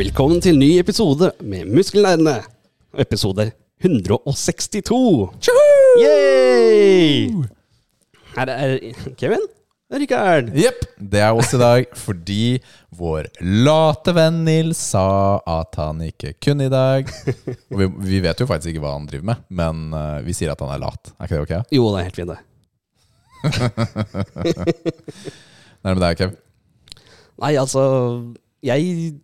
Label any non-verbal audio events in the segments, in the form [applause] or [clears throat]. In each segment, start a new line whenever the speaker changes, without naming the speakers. Velkommen til ny episode med Muskelnerdene. Episode 162. Yay! Her er Kevin og Rikard.
Jepp, det er oss i dag fordi vår late venn Nils sa at han ikke kunne i dag. Og vi, vi vet jo faktisk ikke hva han driver med, men eh, vi sier at han er lat. Er ikke det ok?
Jo, det er helt fint, det.
Nærme deg, Kev.
Nei, altså Jeg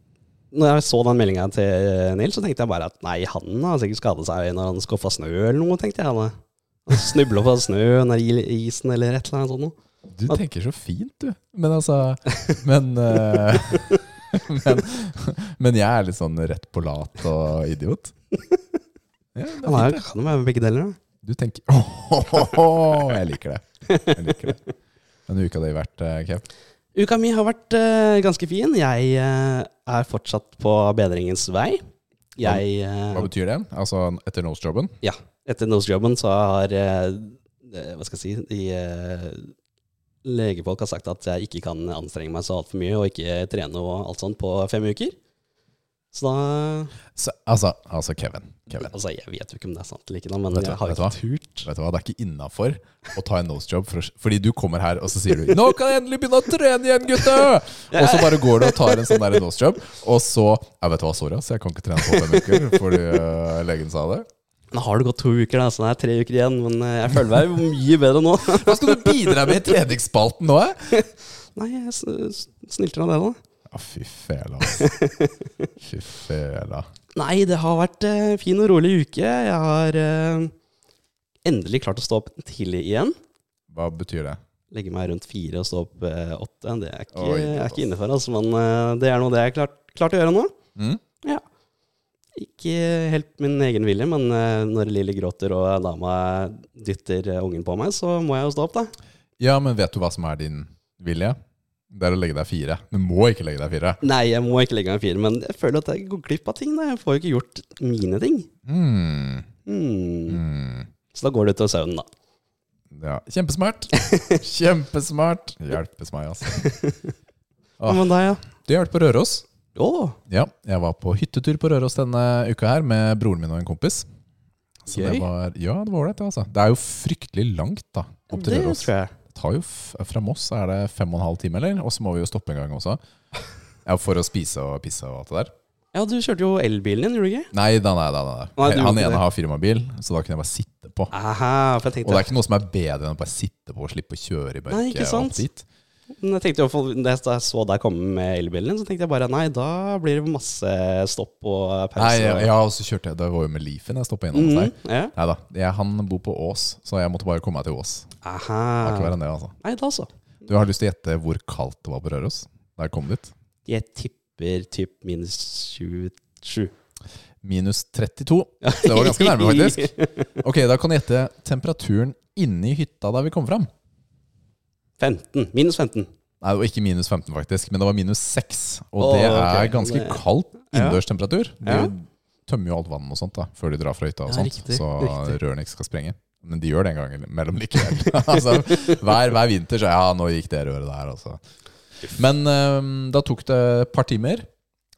Når jeg så den meldinga til eh, Nils, så tenkte jeg bare at nei, han har sikkert skadet seg når han skuffa snø eller noe, tenkte jeg. da. Han snubla på snøen eller i- isen eller et eller annet sånt noe.
Du tenker så fint, du. Men altså Men eh, [laughs] men, men jeg er litt sånn rett på lat og idiot. Ja, det
Han
er
er-
fint, det.
kan jo være begge deler, da.
Du tenker [laughs] Åhåhå, Jeg liker det. Jeg liker det. Men uka di vært, eh, Kev?
Uka mi har vært eh, ganske fin. Jeg eh, er fortsatt på bedringens vei. Jeg eh,
Hva betyr det? Altså etter nose-jobben?
Ja. Etter nosejobben så har eh, eh, Hva skal jeg si de, eh, Legefolk har sagt at jeg ikke kan anstrenge meg så altfor mye og ikke trene og alt sånt på fem uker. Så da
Så, altså, altså Kevin, Kevin.
Altså, jeg vet jo ikke om det er sant eller ikke, da, men
Vet du-
jeg har
vet
ikke
du
turt.
Vet du hva, Det er ikke innafor å ta en nosejob, for, å- fordi du kommer her og så sier du 'Nå kan jeg endelig begynne å trene igjen, gutta!' Og så bare går du og tar en sånn der nosejob, og så ja, 'Vet du hva, sorry, ass, jeg kan ikke trene på fem uker', fordi øh, legen sa det.
Nå har det gått to uker, da, så det er tre uker igjen, men eh, jeg føler meg jo mye bedre nå. [laughs]
Hva skal du bidra med i treningsspalten nå, eh?
Nei, jeg s- snilter av det, da.
Ja, Ah, fy fela, ass. Fy fela.
Nei, det har vært eh, fin og rolig uke. Jeg har eh, endelig klart å stå opp tidlig igjen.
Hva betyr det?
Legge meg rundt fire og stå opp eh, åtte. Det er ikke,
Oi,
er
ass.
ikke inne for, altså, men eh, det er noe det jeg har klart, klart å gjøre nå.
Mm?
Ikke helt min egen vilje, men eh, når Lilly gråter og dama dytter eh, ungen på meg, så må jeg jo stå opp, da.
Ja, men vet du hva som er din vilje? Det er å legge deg fire. Du må ikke legge deg fire.
Nei, jeg må ikke legge meg fire, men jeg føler at jeg går glipp av ting. Da. Jeg får jo ikke gjort mine ting.
Mm.
Hmm.
Mm.
Så da går det til søvnen, da.
Ja,
[laughs]
kjempesmart. Kjempesmart. Hjelpes meg, altså. Ah.
Men da, ja.
Du har vært på Røros?
Å,
Ja, jeg var på hyttetur på Røros denne uka her med broren min og en kompis. Så det
Gøy.
var, ja, det var ålreit, det, altså. Det er jo fryktelig langt, da. Opp til
det
Røros.
tror jeg.
Det tar jo f fra Moss er det fem og en halv time, eller? Og så må vi jo stoppe en gang også. Ja, For å spise og pisse og alt det der.
Ja, du kjørte jo elbilen din, gjorde du ikke?
Nei da, nei da. Nei,
Nei, du gjorde
Han
ikke det.
ene har firmabil, så da kunne jeg bare sitte på.
Aha, for jeg
Og det
tenkte,
er ikke noe som er bedre enn å bare sitte på og slippe å kjøre i mørket.
Nei, ikke
og alt
sant?
dit.
Men jeg tenkte i hvert fall, Da jeg så deg komme med elbilen din, så tenkte jeg bare nei, da blir det masse stopp og pause.
Nei, ja, ja, og så kjørte jeg Det var jo med Leafen jeg stoppa innom hos
Mhm,
deg.
ja.
Nei da, jeg, han bor på Ås, så jeg måtte bare komme meg til Ås.
Aha.
Det er ikke verre enn det, altså.
Nei, da så.
Du har lyst til å gjette hvor kaldt det var på Røros da jeg kom dit?
Jeg tipper typ minus 27.
Minus 32. Så det var ganske nærme,
[laughs]
faktisk. Ok, da kan du gjette temperaturen inni hytta da vi kom fram.
15. Minus 15.
Nei, det var ikke minus 15, faktisk, men det var minus 6. Og det
Å, ok.
er ganske
Det-
kaldt
Ja.
innendørstemperatur. De
Ja.
tømmer jo alt vann og sånt da, før de drar fra hytta, og
Ja,
sånt,
riktig,
så
riktig.
rørene ikke skal sprenge. Men de gjør det en gang imellom likevel. [laughs] altså, hver, hver vinter så ja, nå gikk det røret der, altså. Men øhm, da tok det et par timer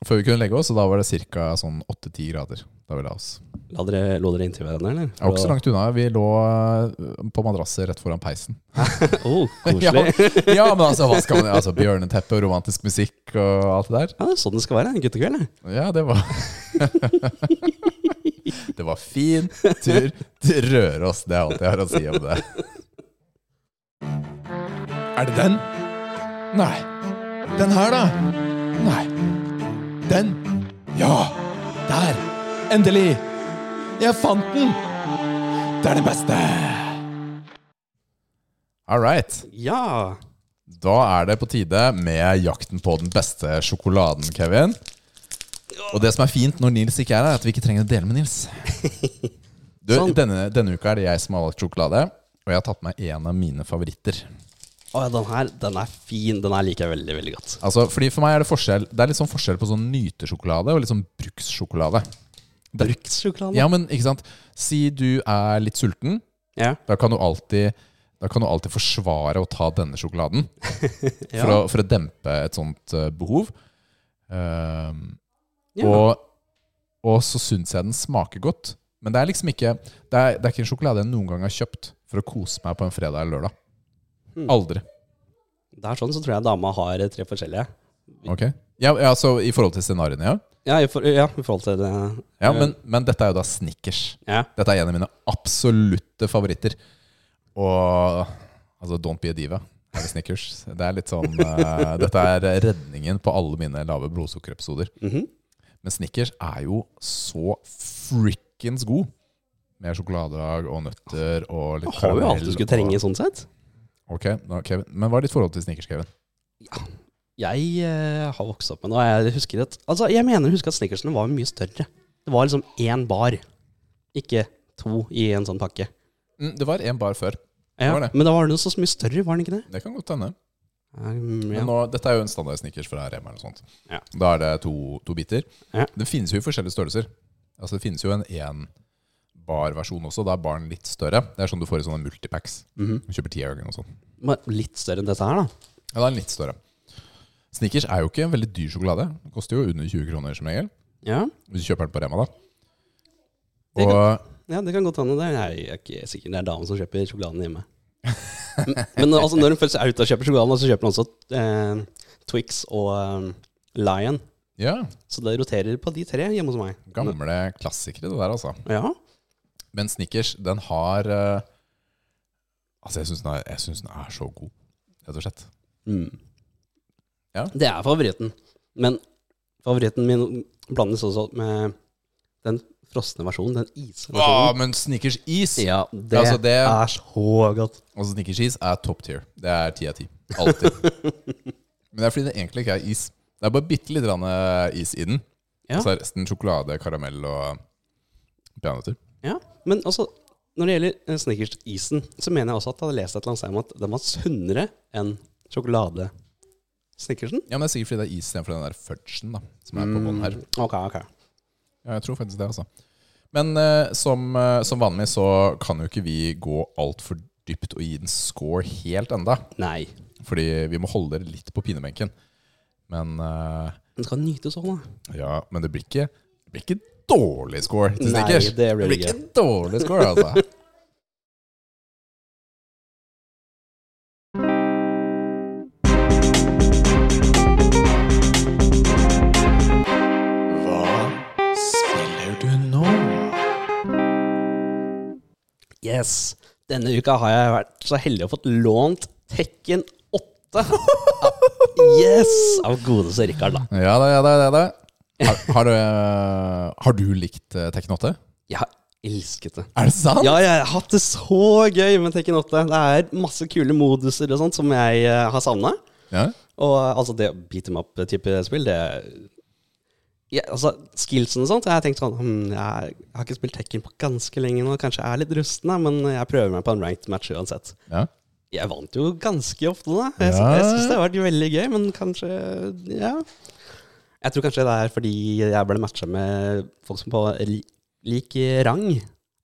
før vi kunne legge oss, og da var det ca. sånn 8-10 grader da vi la oss.
La dere, lå dere inntil hverandre, eller?
Jeg var ikke så langt unna. Vi lå øh, på madrasser rett foran peisen.
Oh, koselig. ja.
[laughs] ja, men altså, hva skal man Altså, bjørneteppe og romantisk musikk og alt det der.
det er sånn det skal være. En guttekveld. det.
Ja, det var [laughs] Det var fin tur til Røros. Det er alt jeg har å si om det. Er det den? Nei. Den her, da? Nei. Den? Ja! Der! Endelig! Jeg fant den! Det er den beste! All right.
Ja.
Da er det på tide med jakten på den beste sjokoladen, Kevin.
Å,
Og det som er fint når Nils ikke er her, er at vi ikke trenger å dele med Nils. Du,
Sånn.
denne, denne uka er det jeg som har valgt sjokolade, og jeg har tatt med en av mine favoritter.
Å ja, den her, den er fin. Den her liker jeg veldig, veldig godt.
Altså, fordi For meg er det forskjell Det er litt sånn forskjell på sånn nytesjokolade og litt sånn brukssjokolade. Det-
Brukssjokolade?
Ja, men ikke sant Si du er litt sulten.
Ja.
Da kan du alltid da kan du alltid forsvare å ta denne sjokoladen for, å, for å dempe et sånt eh, behov. Ehm,
Ja.
Og, og så syns jeg den smaker godt. Men det er liksom ikke det er, det er ikke en sjokolade jeg noen gang har kjøpt for å kose meg på en fredag eller lørdag.
Hmm.
Aldri.
Det er sånn så tror jeg dama har tre forskjellige.
Ok Ja, ja, så I forhold til scenarioene, ja.
Ja, i, for, ja, i forhold til det
ja men, men dette er jo da Snickers.
Ja.
Dette er en av mine absolutte favoritter. Og altså, don't be a diva. Her er Snickers. Det er litt
[laughs]
sånn eh, Dette er redningen på alle mine lave blodsukkerepisoder.
Mhm.
Men Snickers er jo så frikkens god. Med sjokoladelag og nøtter og litt
Jeg har jo alt
karamell
du skulle
og-
trenge, sånn sett.
Ok, da, Kevin. Men hva er ditt forhold til Snickers, Kevin?
Jeg eh, har vokst opp med det, og jeg husker at Altså, jeg mener å huske at snickersene var mye større. Det var liksom én bar, ikke to i en sånn pakke.
Mm, det var en bar før.
Ja,
var det.
Men da var den så mye større, var den ikke det?
Det kan godt hende.
Um,
Men
ja.
nå, dette er jo en standard Snickers fra Rema eller noe sånt.
Ja.
Da er det to, to biter.
Ja.
Det finnes jo i forskjellige størrelser. Altså Det finnes jo en én bar-versjon også. Da er baren litt større. Det er sånn du får i sånne multipacks.
Mhm.
Du kjøper ti av gangen og sånn.
Men Litt større enn dette her, da.
Ja, da er den litt større. Snickers er jo ikke en veldig dyr sjokolade. Den koster jo under 20 kroner som regel.
Ja,
Hvis du kjøper den på Rema, da.
Det
Og
ja det kan godt hende. Det er, jeg er ikke sikker det er damen som kjøper sjokoladen hjemme. Men, men altså, når hun først er ute og kjøper sjokoladen, så kjøper hun også eh, Twix og eh, Lion.
ja,
Så det roterer på de tre hjemme hos meg.
gamle klassikere, det der, altså.
Ja,
Men Snickers, den har eh, Altså, jeg syns den, er- jeg synes den er så god, rett og slett. Mm. Ja.
Det er favoritten. Men favoritten min blandes også med den frosne versjonen, den
Åh,
isversjonen.
men Snickers is!
Ja, det,
Altså, det-
er så godt.
Altså Snickers is er top tier. Det er ti av ti.
[laughs]
Alltid. Men det er fordi det egentlig ikke er is. Det er bare bitte litt grann, eh, is i den.
Ja.
Så er resten sjokolade, karamell og peanøtter.
Ja, Men altså, når det gjelder eh, Snickers-isen, så mener jeg også at jeg hadde lest et eller annet sted om at den var sunnere enn sjokolade-Snickersen.
Ja, men det er sikkert fordi det er is istedenfor den der fudgen da, som er på bånn her.
Mm, Ok, ok.
Ja, jeg tror faktisk det, altså. Men eh, som, eh, som vanlig så kan jo ikke vi gå altfor dypt og gi den score helt enda.
Nei.
Fordi vi må holde dere litt på pinebenken. Men eh,
Den skal nytes òg, da.
Ja, men det blir ikke, det blir ikke dårlig score til
Nei,
Snickers.
det blir
det blir
det
ikke en dårlig score,
[laughs]
altså.
Hva spiller du nå?
Yes. Denne uka har jeg vært så heldig å fått lånt Tekken 8. Yes! Av godeste Rikard, da.
Ja da, ja da. Ja, da. Har, har, du, eh, har du likt eh, Tekken 8?
Jeg har elsket det.
Er det sant?
Ja, jeg har hatt det så gøy med Tekken 8. Det er masse kule moduser og sånt som jeg eh, har savna.
Ja.
Og eh, altså, det beat em up-type spill, det ja, altså, Skillsen og sånt. Jeg har tenkt sånn hm, jeg, jeg har ikke spilt Tekken på ganske lenge nå. Kanskje jeg er litt rusten, da, men jeg prøver meg på en ranked match uansett.
Ja.
Jeg vant jo ganske ofte, da. Jeg, ja.
Ja.
jeg syns det har vært veldig gøy, men kanskje Ja. Jeg tror kanskje det er fordi jeg ble matcha med folk som på li- lik rang.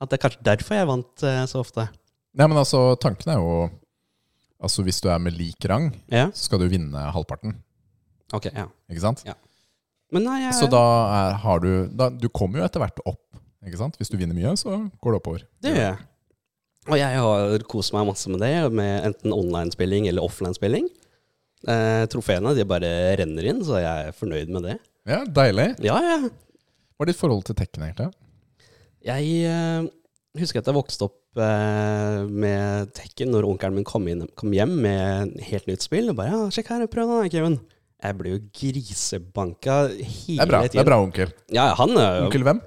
At det er kanskje derfor jeg vant eh, så ofte.
Nei, men altså, tanken er jo Altså, hvis du er med lik rang,
Ja,
så skal du vinne halvparten,
ok, ja.
ikke sant?
Men nei, jeg,
Så da er, har du da, Du kommer jo etter hvert opp, ikke sant? Hvis du vinner mye, så går det oppover.
det gjør jeg. Og jeg har kost meg masse med det, med enten online-spilling eller offline-spilling. Eh, trofeene de bare renner inn, så jeg er fornøyd med det.
Ja, Deilig.
Ja, ja.
Hva er ditt forhold til Tekken, egentlig?
Jeg eh, husker at jeg vokste opp eh, med Tekken når onkelen min kom, inn, kom hjem med helt nytt spill. Og bare ja, 'sjekk her, prøv den, da, Kevin'. Jeg ble jo grisebanka hele
Det er bra, det
tiden.
er bra onkel.
Ja, ja, han er jo
Onkel hvem?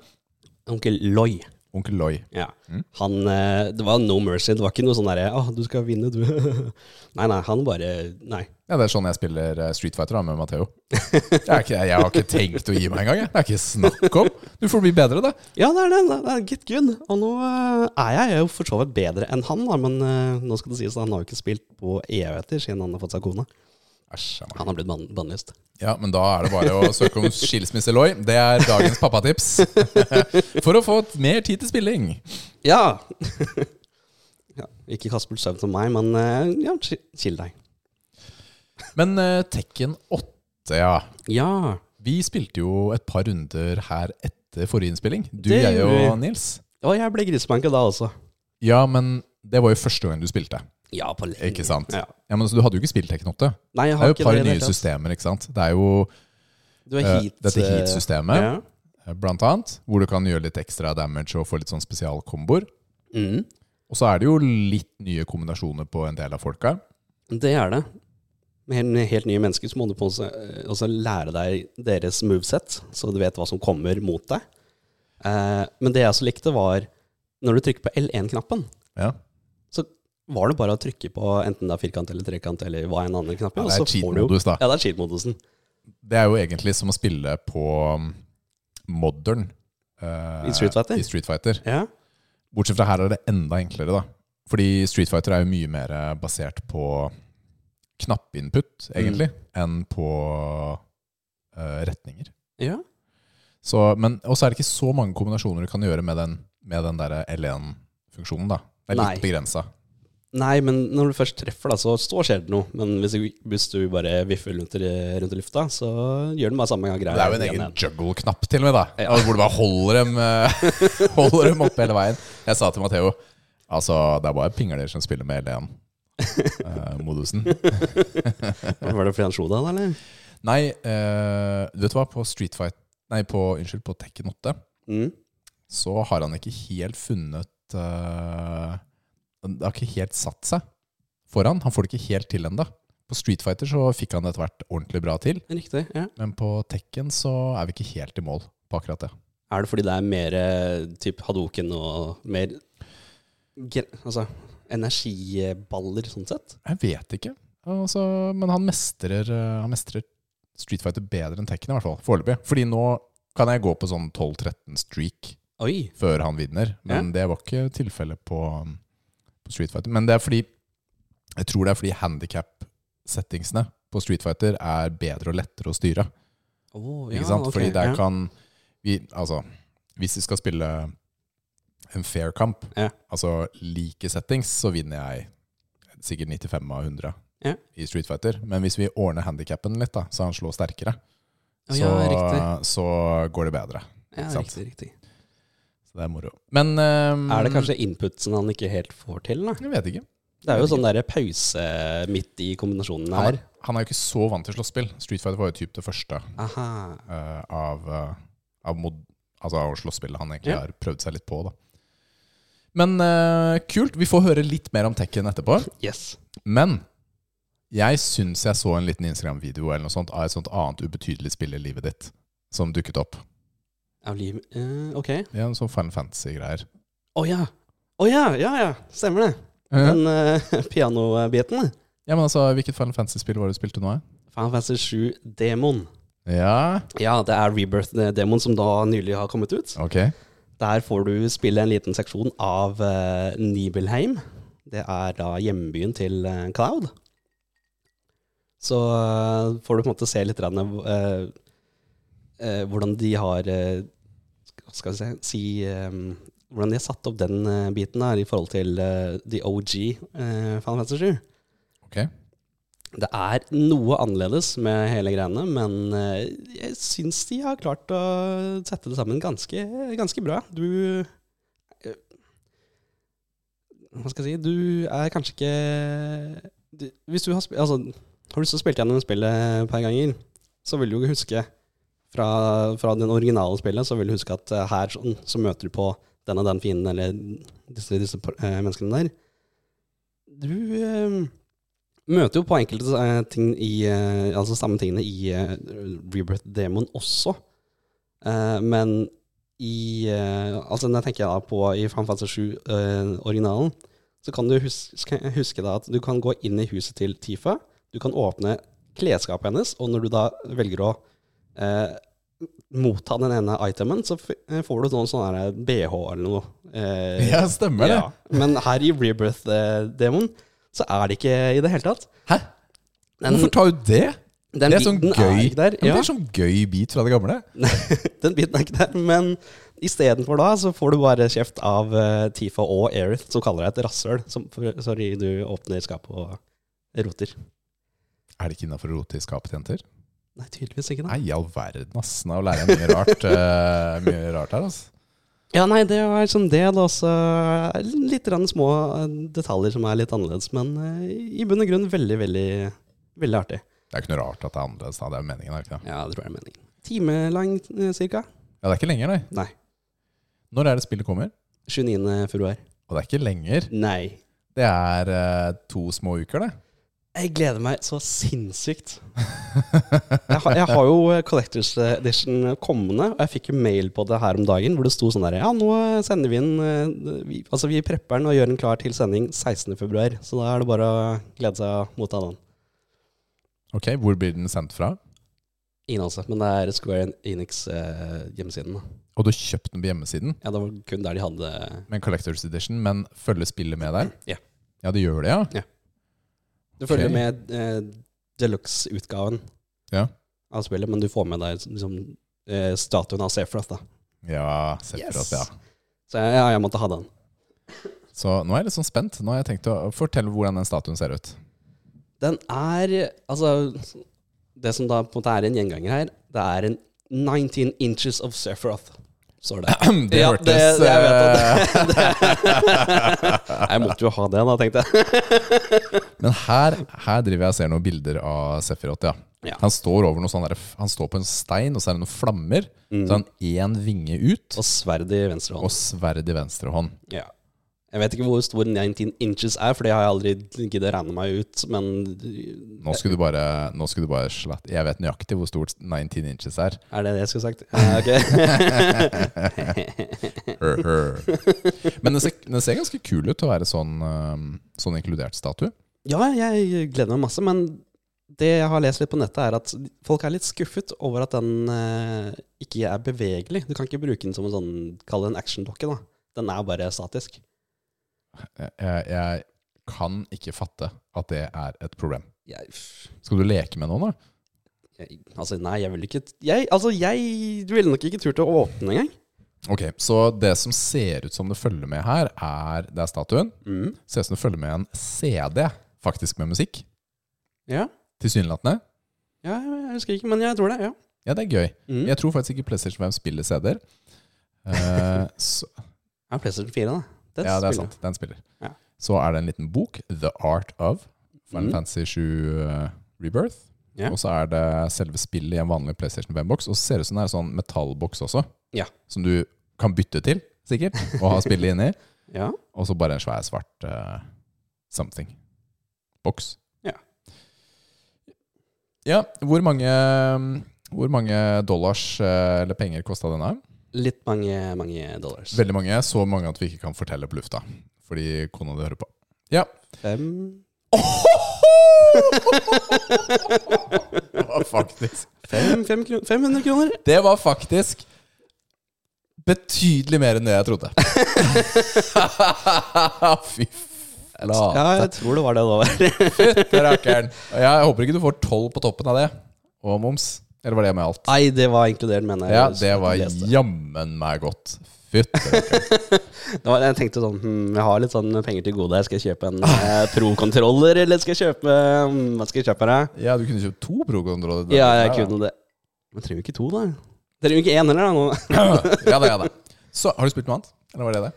onkel Loy.
Onkel Loi.
Ja.
Mm.
Han, eh, det var no mercy. Det var ikke noe sånn derre Å, du skal vinne, du. [laughs] nei, nei. Han bare Nei.
Ja, Det er sånn jeg spiller eh, Street Fighter da, med Matheo. Jeg, er ikke- jeg har ikke tenkt å gi meg engang. jeg. Det er ikke snakk om. Du får bli bedre, da.
Ja, det er det. det er Get good. Og nå eh, er jeg jo for så vidt bedre enn han, da. Men eh, nå skal det sies at han har jo ikke spilt på evigheter siden han har fått seg kone.
Æsj. jeg må-
Han har blitt ban- bannlyst.
Ja, men da er det bare å søke om skilsmisse, Loi. Det er dagens pappatips. [laughs] For å få mer tid til spilling.
Ja. [laughs] ja! Ikke kast bort søvn på meg, men eh, ja, chi- chill deg.
Men eh, Tekken 8, ja.
Ja.
Vi spilte jo et par runder her etter forrige innspilling. Du,
Det
jeg
gjorde
og
vi.
Nils.
Og jeg ble grisebanka da også.
Ja, men det var jo første gang du spilte.
Ja, på lenge.
Ikke sant?
Mm, Ja.
Ja, men så Du hadde jo ikke spilt Tekken 8.
Nei, jeg
Det er
har
jo et
ikke
par
det. i det
nye
hele tatt.
systemer, ikke sant. Det er jo
Du er
eh,
heat,
dette
eh,
heat-systemet,
Ja.
eh, blant annet. Hvor du kan gjøre litt ekstra damage og få litt sånn spesialkomboer.
Mm.
Og så er det jo litt nye kombinasjoner på en del av folka.
Det er det. Med helt, helt nye mennesker så må du på også, også lære deg deres moveset, så du vet hva som kommer mot deg. Eh, men det jeg også likte, var når du trykker på L1-knappen,
Ja.
så var det bare å trykke på enten det er firkant eller trekant eller hva enn andre knappen,
Ja,
og
det
så
er
får du jo
cheat-modus, da.
Ja, det er cheat-modusen.
Det er jo egentlig som å spille på um, modern eh,
I Street Fighter?
i Street Fighter.
Ja.
Bortsett fra her er det enda enklere, da. Fordi Street Fighter er jo mye mer eh, basert på knappinput, egentlig, enn på eh, retninger.
ja.
Så, men også er det ikke så mange kombinasjoner du kan gjøre med den, med den der L1-funksjonen, da. Det er litt
Nei.
begrensa.
Nei, men når du først treffer, da, så, så skjer det noe. Men hvis du, hvis du bare viffer rundt i, rundt i lufta, så gjør den bare samme greia.
Det er jo en
igjen.
egen juggle-knapp til og med, da. Altså, Hvor du bare holder dem, eh, [laughs] holder dem oppe hele veien. Jeg sa til Matheo Altså, det er bare pingler som spiller med eh, L1-modusen.
Var det fordi han slo deg, da, eller?
nei, eh, vet du hva? På Street Fight Nei, på, unnskyld, på Tekken 8
Mm.
så har han ikke helt funnet eh, Det har ikke helt satt seg for han. Han får det ikke helt til ennå. På Street Fighter så fikk han det etter hvert ordentlig bra til,
Riktig. ja.
men på Tekken så er vi ikke helt i mål på akkurat det.
Er det fordi det er mer eh, typ Hadoken og mer gre- altså, energiballer, sånn sett?
Jeg vet ikke. Altså, men han mestrer, eh, han mestrer Street Fighter bedre enn Tekken, i hvert fall. Foreløpig. Fordi nå kan jeg gå på sånn 12-13 streak
Oi!
før han vinner. Men det var ikke tilfellet på, um, på Street Fighter. Men det er fordi jeg tror det er fordi handikap-settingsene på Street Fighter er bedre og lettere å styre.
Oh,
Ikke sant?
ok,
Fordi der
ja.
kan vi, altså, Hvis vi skal spille en fair kamp,
Ja.
altså like settings, så vinner jeg sikkert 95 av 100
Ja.
i Street Fighter. Men hvis vi ordner handikappen litt, da, så han slår sterkere,
Å,
så,
ja, riktig.
så går det bedre.
Ja,
ikke sant?
riktig, riktig.
Så det er moro. Men ehm,
Mm. Er det kanskje inputsen han ikke helt får til? Da?
Jeg vet ikke.
Det er jo sånn der pause midt i kombinasjonene
Han
her.
er, han er jo ikke så vant til slåsspill. Street Fighter var jo typ det første
Aha.
eh, av, eh, av, mod, altså av slåsspillet han egentlig
Ja.
har prøvd seg litt på. Da. Men eh, kult. Vi får høre litt mer om Tekken etterpå.
Yes.
Men jeg syns jeg så en liten Instagram-video eller noe sånt av et sånt annet ubetydelig spill i livet ditt som dukket opp.
Av liv... eh, ok. Å
Det er en sånn Final Fantasy-greier.
ja! Å ja, ja, ja. Stemmer det.
Eh,
Den uh, [laughs] pianobiten.
Ja, men altså, Hvilket Final Fantasy-spill var det du spilte nå?
Fan Fantasy 7 Demon.
eh? Ja,
Ja, det er Rebirth eh, Demon som da nylig har kommet ut.
ok.
Der får du spille en liten seksjon av eh, Nibelheim. Det er da hjembyen til eh, Cloud. Så eh, får du på en måte se litt grann, eh, eh, hvordan de har eh, sk- Skal vi se si, eh, Hvordan de har satt opp den eh, biten her i forhold til eh, The OG uh, Final Fantasy 7.
Ok.
Det er noe annerledes med hele greiene, men eh, jeg syns de har klart å sette det sammen ganske, ganske bra. Du eh, Hva skal jeg si Du er kanskje ikke du, Hvis du har spilt Altså, har du lyst til å spille gjennom spillet et par ganger, så vil du jo huske fra, fra den originale spillet, så vil du huske at eh, her sånn, så møter du på den og den fienden, eller disse, disse eh, menneskene der. Du eh, møter jo på enkelte eh, ting i eh, Altså samme tingene i eh, Rebirth Demon også. Eh, men i eh, Altså når jeg tenker da på i Final Fantasy 7, originalen, så kan du huske, huske da at du kan gå inn i huset til Tifa. Du kan åpne klesskapet hennes, og når du da velger å eh, motta den ene itemen, så f eh, får du noen sånne her BH eller noe. Eh,
Ja, stemmer det.
ja. Men her i Rebirth-demoen så er det ikke i det hele tatt.
Hæ?
Den,
Hvorfor tar du det?
den
det er sånn
biten
gøy
ikke der,
Ja, men
ja.
Det er sånn gøy bit fra det gamle.
Den biten er ikke der, men istedenfor da så får du bare kjeft av eh, Tifa og Aerith, som kaller deg et rasshøl som- for- sorry du åpner skapet og roter.
Er det ikke innafor å rote i skapet, jenter?
Nei, tydeligvis ikke. det.
Nei, i all verden, ass. Nå lærer jeg mye rart, eh, mye rart her, altså.
Ja, nei, det var som det. Det er også litt grann små eh, detaljer som er litt annerledes, men eh, i bunn og grunn veldig, veldig, veldig artig.
Det er ikke noe rart at det er annerledes, da. Det er jo meningen, er det ikke det?
Ja, det tror jeg er meningen. Timelang eh, cirka?
Ja, det er ikke lenger, nei.
Nei.
Når er det spillet kommer?
29. februar.
Og det er ikke lenger.
Nei.
Det er eh, to små uker, det.
Jeg gleder meg så [laughs] sinnssykt. Jeg har, jeg har jo eh, Collectors Edition kommende, og jeg fikk jo mail på det her om dagen hvor det sto sånn der Ja, nå sender vi den eh, vi, Altså, vi prepper den og gjør den klar til sending 16.2, så da er det bare å glede seg og motta den.
Ok, Hvor blir den sendt fra?
Ingen anelse, men det er Square Enix-hjemmesiden.
Og du har kjøpt den på hjemmesiden,
ja, det var kun der de hadde
med en Collectors Edition, men følger spillet med der?
Ja.
Ja, det gjør det, ja?
Du følger
Ok.
med eh, deluxe-utgaven
Ja.
av spillet, men du får med deg liksom, eh, statuen av Sephiroth, da.
Ja,
Yes.
Sephiroth, ja.
Så jeg, ja, jeg måtte ha den.
Så nå er jeg litt sånn spent. Nå har jeg tenkt å fortelle hvordan den statuen ser ut. [clears throat]
Den er Altså, det som da på en måte er en gjenganger her, det er en 19 inches of Sephiroth, står det.
[laughs] Det
Ja,
hørtes
det- det- jeg
eh,
vet at [laughs] det-
[laughs]
Jeg måtte jo ha det, da, tenkte jeg.
Men her, her driver jeg og ser noen bilder av Sefirot, ja.
Ja.
Han står over noe sånn der, Han står på en stein, og så er det noen flammer. Så har han én vinge ut,
Og sverd i venstre
og
hånd.
sverd i venstre hånd.
Ja. Jeg vet ikke hvor stor 19 inches er, for det har jeg aldri giddet å regne meg ut, men
Nå skulle du bare, nå skulle du bare slett, Jeg vet nøyaktig hvor stort 19 inches er.
er det det jeg skulle sagt? Ja, ok.
[laughs] Hør, hør. Men den ser, den ser ganske kul ut til å være sånn, øhm, sånn inkludert statue.
ja, jeg gleder meg masse, men det jeg har lest litt på nettet, er at folk er litt skuffet over at den eh, ikke er bevegelig. Du kan ikke bruke den som en sånn, kall det en actiondokke, da. Den er bare statisk.
Jeg, jeg, jeg kan ikke fatte at det er et problem.
Jeg,
Skal du leke med noen, da?
jeg, altså, nei, jeg ville ikke jeg, Altså, jeg ville nok ikke turt å åpne engang.
Ok, Så det som ser ut som det følger med her, er, det er statuen.
Mm.
Ser ut som du følger med en CD, faktisk med musikk.
Ja.
Tilsynelatende.
ja, jeg husker ikke, men jeg tror det. Ja.
Ja, det er gøy.
Mm.
Jeg tror faktisk ikke PlayStation 5 spiller CD-er.
[laughs]
Eh, så,
Ja, PlayStation 4, da.
ja, det er
spiller
sant. Den spiller.
Ja.
Så er det en liten bok, The Art of Final
Mm.
Fantasy 7 eh, Rebirth.
Ja.
Og så er det selve spillet i en vanlig PlayStation 5-boks. Og så ser det ut som det er en sånn metallboks også,
Ja.
som du kan bytte til, sikkert, og ha spillet inni.
Ja.
Og så bare en svær svart eh, something. Boks.
Ja.
Ja, hvor mange, mm, hvor mange dollars eh, eller penger kosta denne?
Litt mange, mange dollars.
Veldig mange. Så mange at vi ikke kan fortelle på lufta. Fordi kona di hører på. Ja. [laughs]
Fem
Det var faktisk
fem, fem kro 500 kroner.
Det var faktisk betydelig mer enn det jeg trodde. [laughs] Fy flate.
Ja, jeg tror det var det det var.
Fytte rakkeren. Og Jeg håper ikke du får tolv på toppen av det. Og moms. Eller var det med alt?
[laughs] Nei, det var inkludert, mener jeg.
Ja,
Jeg
det var
leste.
jammen meg godt. Fytte.
Det var, jeg tenkte sånn hm, Jeg har litt sånn penger til gode. her. Skal jeg kjøpe en eh, pro-kontroller, eller skal jeg kjøpe hm, Hva skal jeg kjøpe her? da?
Ja, du kunne kjøpt to pro-kontroller.
Ja, jeg kunne det. Men trenger jo ikke to, da. Trenger jo ikke én heller, da. Nå. [laughs]
ja, det er det. Så, har du spilt noe annet? Eller var det det?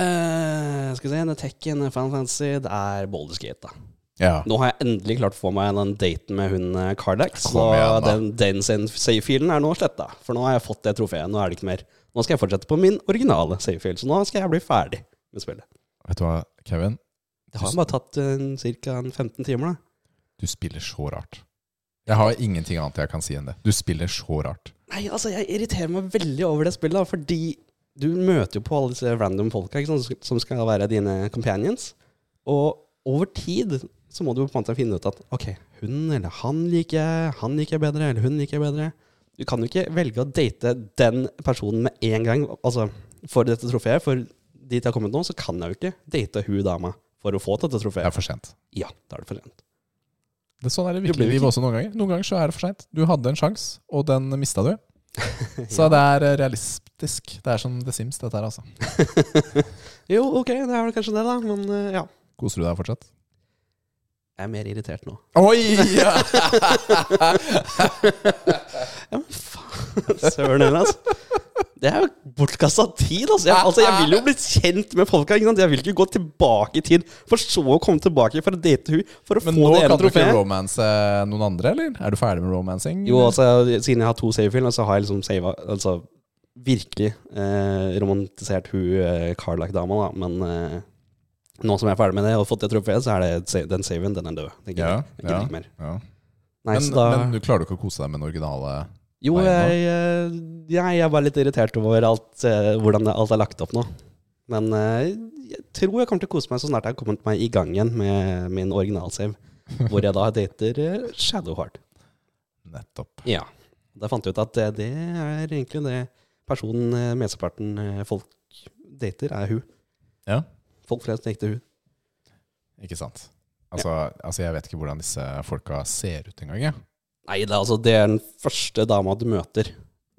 Eh, skal vi se, det er Tekken, det er Final Fantasy, det er Baldur's Gate, da.
Ja.
Nå har jeg endelig klart å få meg den daten med hun eh, Kardax. Så
Kom igjen, da.
den, den sin save-filen er nå sletta. For nå har jeg fått det trofeet. Nå er det ikke mer. Nå skal jeg fortsette på min originale save-fil. Så nå skal jeg bli ferdig med spillet.
Vet du hva, Kevin?
Det har bare tatt eh, ca. 15 timer, da.
Du spiller så rart. Jeg har ingenting annet jeg kan si enn det. Du spiller så rart.
Nei, altså, jeg irriterer meg veldig over det spillet, da, fordi du møter jo på alle disse random folka ikke sant, som sk- som skal være dine companions. Og over tid så må du jo på en måte finne ut at ok, hun eller han liker jeg, han liker jeg bedre, eller hun liker jeg bedre. Du kan jo ikke velge å date den personen med en gang. Altså, for dette trofeet, for dit jeg har kommet nå, så kan jeg jo ikke date hun dama for å få dette
Det er
trofeet.
for sent.
Ja, da er det for sent.
Det, sånn er
Du
det
blir
virkelig
jo
livet
ikke-
også noen ganger. Noen ganger så er det for seint. Du hadde en sjanse, og den mista
[laughs]
du. Så det er eh, realistisk. Det er som The Sims, dette her, altså.
[laughs] Jo, ok, det er vel kanskje det, da. Men eh, ja.
Koser du deg fortsatt?
Jeg er mer irritert nå.
Oi!
[laughs]
Ja.
Ja, men faen. Søren heller, altså. Det er jo bortkasta tid, altså. Jeg, altså. jeg vil jo bli kjent med folka. Ikke sant? Jeg vil ikke gå tilbake i tid for så å komme tilbake for å date hun for å få
Men nå
det
kan
ene
du ikke
trofeet.
romance eh, noen andre, eller? Er du ferdig med romancing?
Jo, altså, siden jeg har to savefilmer, så har jeg liksom sava Altså virkelig eh, romantisert hun eh, Carlac-dama, da. Men eh, nå som jeg er ferdig med det og har fått det trofeet, så er det sa- den saven, den er død. Den gidder
Ja,
jeg- jeg gidder
ja.
ikke mer.
Ja.
Nei,
men,
så da
men du klarer jo ikke å kose deg med den originale
Jo,
Nei, nå.
jeg, eh, jeg er bare litt irritert over alt, eh, hvordan det- alt er lagt opp nå. Men eh, jeg tror jeg kommer til å kose meg så snart jeg har kommet meg i gang igjen med min originalsave. Hvor jeg da [laughs] dater eh, Shadowheart.
Nettopp.
Ja. Da fant jeg ut at eh, det er egentlig det personen eh, mesteparten eh, folk dater, er hun.
Ja.
Folk flest dater hun.
Ikke sant? Altså, altså, jeg vet ikke hvordan disse folka ser ut engang, jeg.
Nei, det er, altså, det er den første dama du møter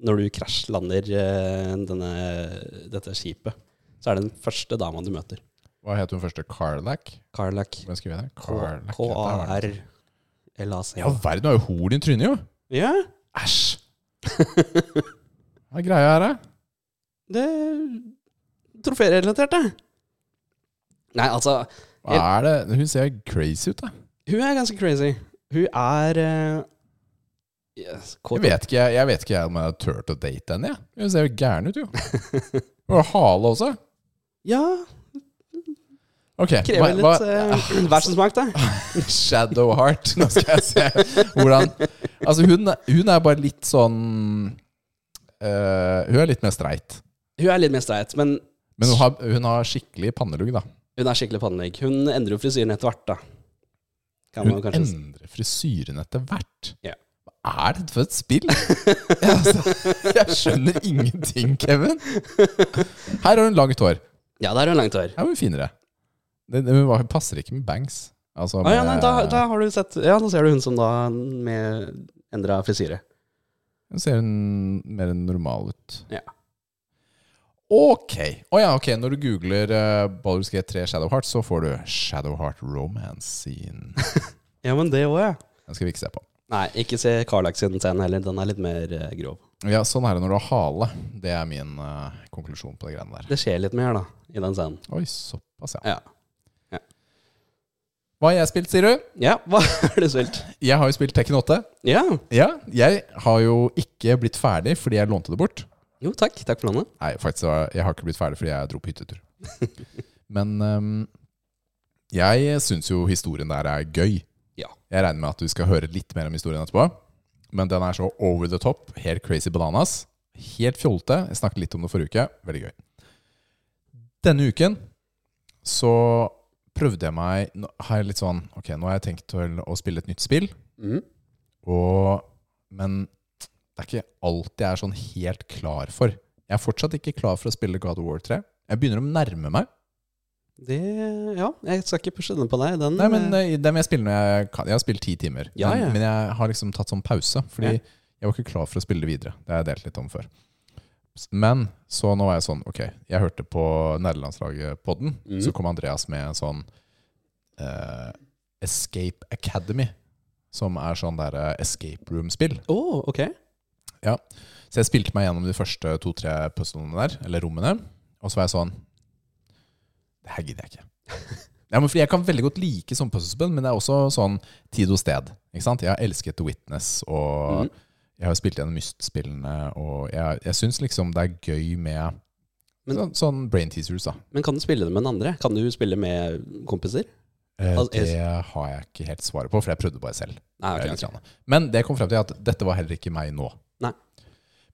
når du krasjlander eh, denne- dette skipet. Så er det den første dama du møter.
Hva het hun første? Carlac?
Carlac.
Hvordan skriver jeg det? Carlac, heter hun.
K-A-R-L-A-C.
Ja, verden har jo horn i trynet, jo!
Ja,
Æsj! Hva er greia her, da?
det er troférelatert, det. Nei, altså,
Hva er det? Hun ser crazy ut, da.
hun er ganske crazy. Hun er eh, yes,
Jeg vet ikke jeg, jeg vet ikke jeg om jeg har turt å date henne, jeg. Hun ser jo
[laughs]
gæren ut, jo. Hun har hale også.
Ja,
Ok, hva,
krever
hva,
litt uh, versensmak, da.
Shadowheart. [laughs] Nå skal jeg se hvordan Altså, hun, hun er bare litt sånn eh, Hun er litt mer streit.
Hun er litt mer streit, men
Men hun har, hun har skikkelig pannelugg, da.
hun er skikkelig pannelugg. Hun endrer jo frisyren etter hvert, da. Kan
Hun
man kanskje si.
endrer frisyren etter hvert.
Ja.
Hva er dette for et spill? [laughs] Ja, altså, jeg skjønner ingenting, Kevin. Her har hun langt hår.
Ja, der er hun langt hår.
Her er hun finere. Det, det, hun var- passer ikke med bangs. Altså,
Ah, ja, nei,
med-
da, da har du sett Ja, da ser du hun som da med endra frisyre.
Hun ser hun mer enn normal ut.
Ja.
Ok. Å ja, ok. Når du googler uh, Baldur's Gate 3 Shadowheart, så får du Shadowheart romance scene.
Ja, men det òg, ja.
Den skal vi ikke se på.
Nei, ikke se Carlac sin scene heller. Den er litt mer eh, grov.
Ja, Sånn er det når du har hale. Det er min eh, konklusjon på de greiene der.
Det skjer litt mer, da, i den scenen.
Oi, såpass, ja.
Ja.
Hva har jeg spilt, sier du?
Ja, [laughs] hva er det spilt?
Jeg har jo spilt Tekken 8.
Ja.
Ja, jeg har jo ikke blitt ferdig fordi jeg lånte det bort.
Jo, takk. Takk for lånet.
Nei, faktisk, så- jeg har ikke blitt ferdig fordi jeg dro på hyttetur. Men ehm, jeg syns jo historien der er gøy.
Ja.
Jeg regner med at du skal høre litt mer om historien etterpå. Men den er så over the top, helt crazy bananas. Helt fjolte. Jeg snakket litt om det forrige uke. Veldig gøy. Denne uken så prøvde jeg meg Nå har jeg litt sånn Ok, nå har jeg tenkt til å spille et nytt spill.
Mm.
Og, men det er ikke alt jeg er sånn helt klar for. Jeg er fortsatt ikke klar for å spille God of War 3. Jeg begynner å nærme meg.
Det Ja, jeg skal ikke pushe den på deg. Den
Nei, men eh, dem jeg spiller når jeg kan. Jeg har spilt ti timer.
Mm. Ja,
men,
ja.
men jeg har liksom tatt sånn pause, fordi
Ja.
jeg var ikke klar for å spille det videre. Det har jeg delt litt om før. S- Men så nå var jeg sånn Ok, jeg hørte på Nerdelandslaget-podden.
Mhm.
Så kom Andreas med en sånn eh, Escape Academy, som er sånn der eh, escape room-spill.
Å, ok.
Så jeg spilte meg gjennom de første to-tre puzzlene der, eller rommene. Og så var jeg sånn Det her gidder jeg ikke. [laughs] Ja, men fordi Jeg kan veldig godt like sånn puzzlespill, men det er også sånn tid og sted. Ikke sant? Jeg har elsket The Witness, og
Mhm.
jeg har jo spilt gjennom Myst-spillene. Og jeg, jeg syns liksom det er gøy med
Men-
sånn, sånn brain teasers, da.
Men kan du spille det med den andre? Kan du spille med kompiser?
Eh,
Altså, jeg-
Det har jeg ikke helt svaret på, for jeg prøvde bare selv.
Nei, ok,
Jeg er litt
ok.
grann. Men det kom frem til at dette var heller ikke meg nå.
Nei.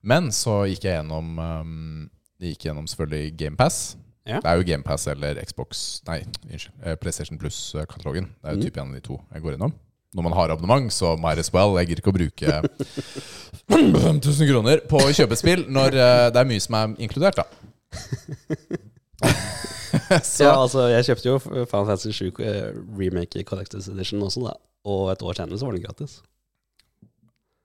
Men så gikk jeg gjennom um, jeg gikk gjennom selvfølgelig GamePass.
Ja.
Det er jo GamePass eller Xbox Nei, unnskyld. eh, PlayStation Plus-katalogen. Det er jo
Mm.
typ en av de to jeg går gjennom. Når man har abonnement, så might as well. Jeg gidder ikke å bruke
[laughs]
5000 kroner på å kjøpe spill når eh, det er mye som er inkludert, da. så
Ja, altså, jeg kjøpte jo Final Fantasy 7 eh, Remake i Collectors Edition også, da. Og et år senere så var den gratis.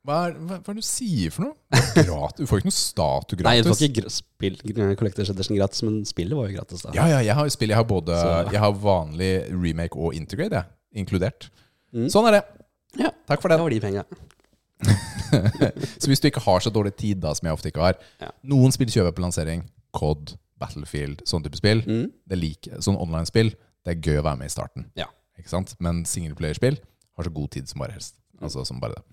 hva, er, hva, hva er det du sier for noe? Grat- du får ikke noe statue
Nei,
gratis.
du får ikke gr spill, Collectors Edition gratis, men spillet var jo gratis, da.
Ja, ja, jeg har jo spill. Jeg har både
Så-
Jeg har vanlig remake og integrate, jeg. Inkludert.
Mm.
Sånn er det.
Ja.
Takk for
Det
den.
var de penga.
Så hvis du ikke har så dårlig tid, da, som jeg ofte ikke har
Ja.
Noen spill kjøper jeg på lansering. COD, Battlefield, sånn type spill.
Mm.
Det liker, sånn online-spill, det er gøy å være med i starten.
Ja.
Ikke sant? Men singleplayerspill har så god tid som bare helst. Altså som bare det.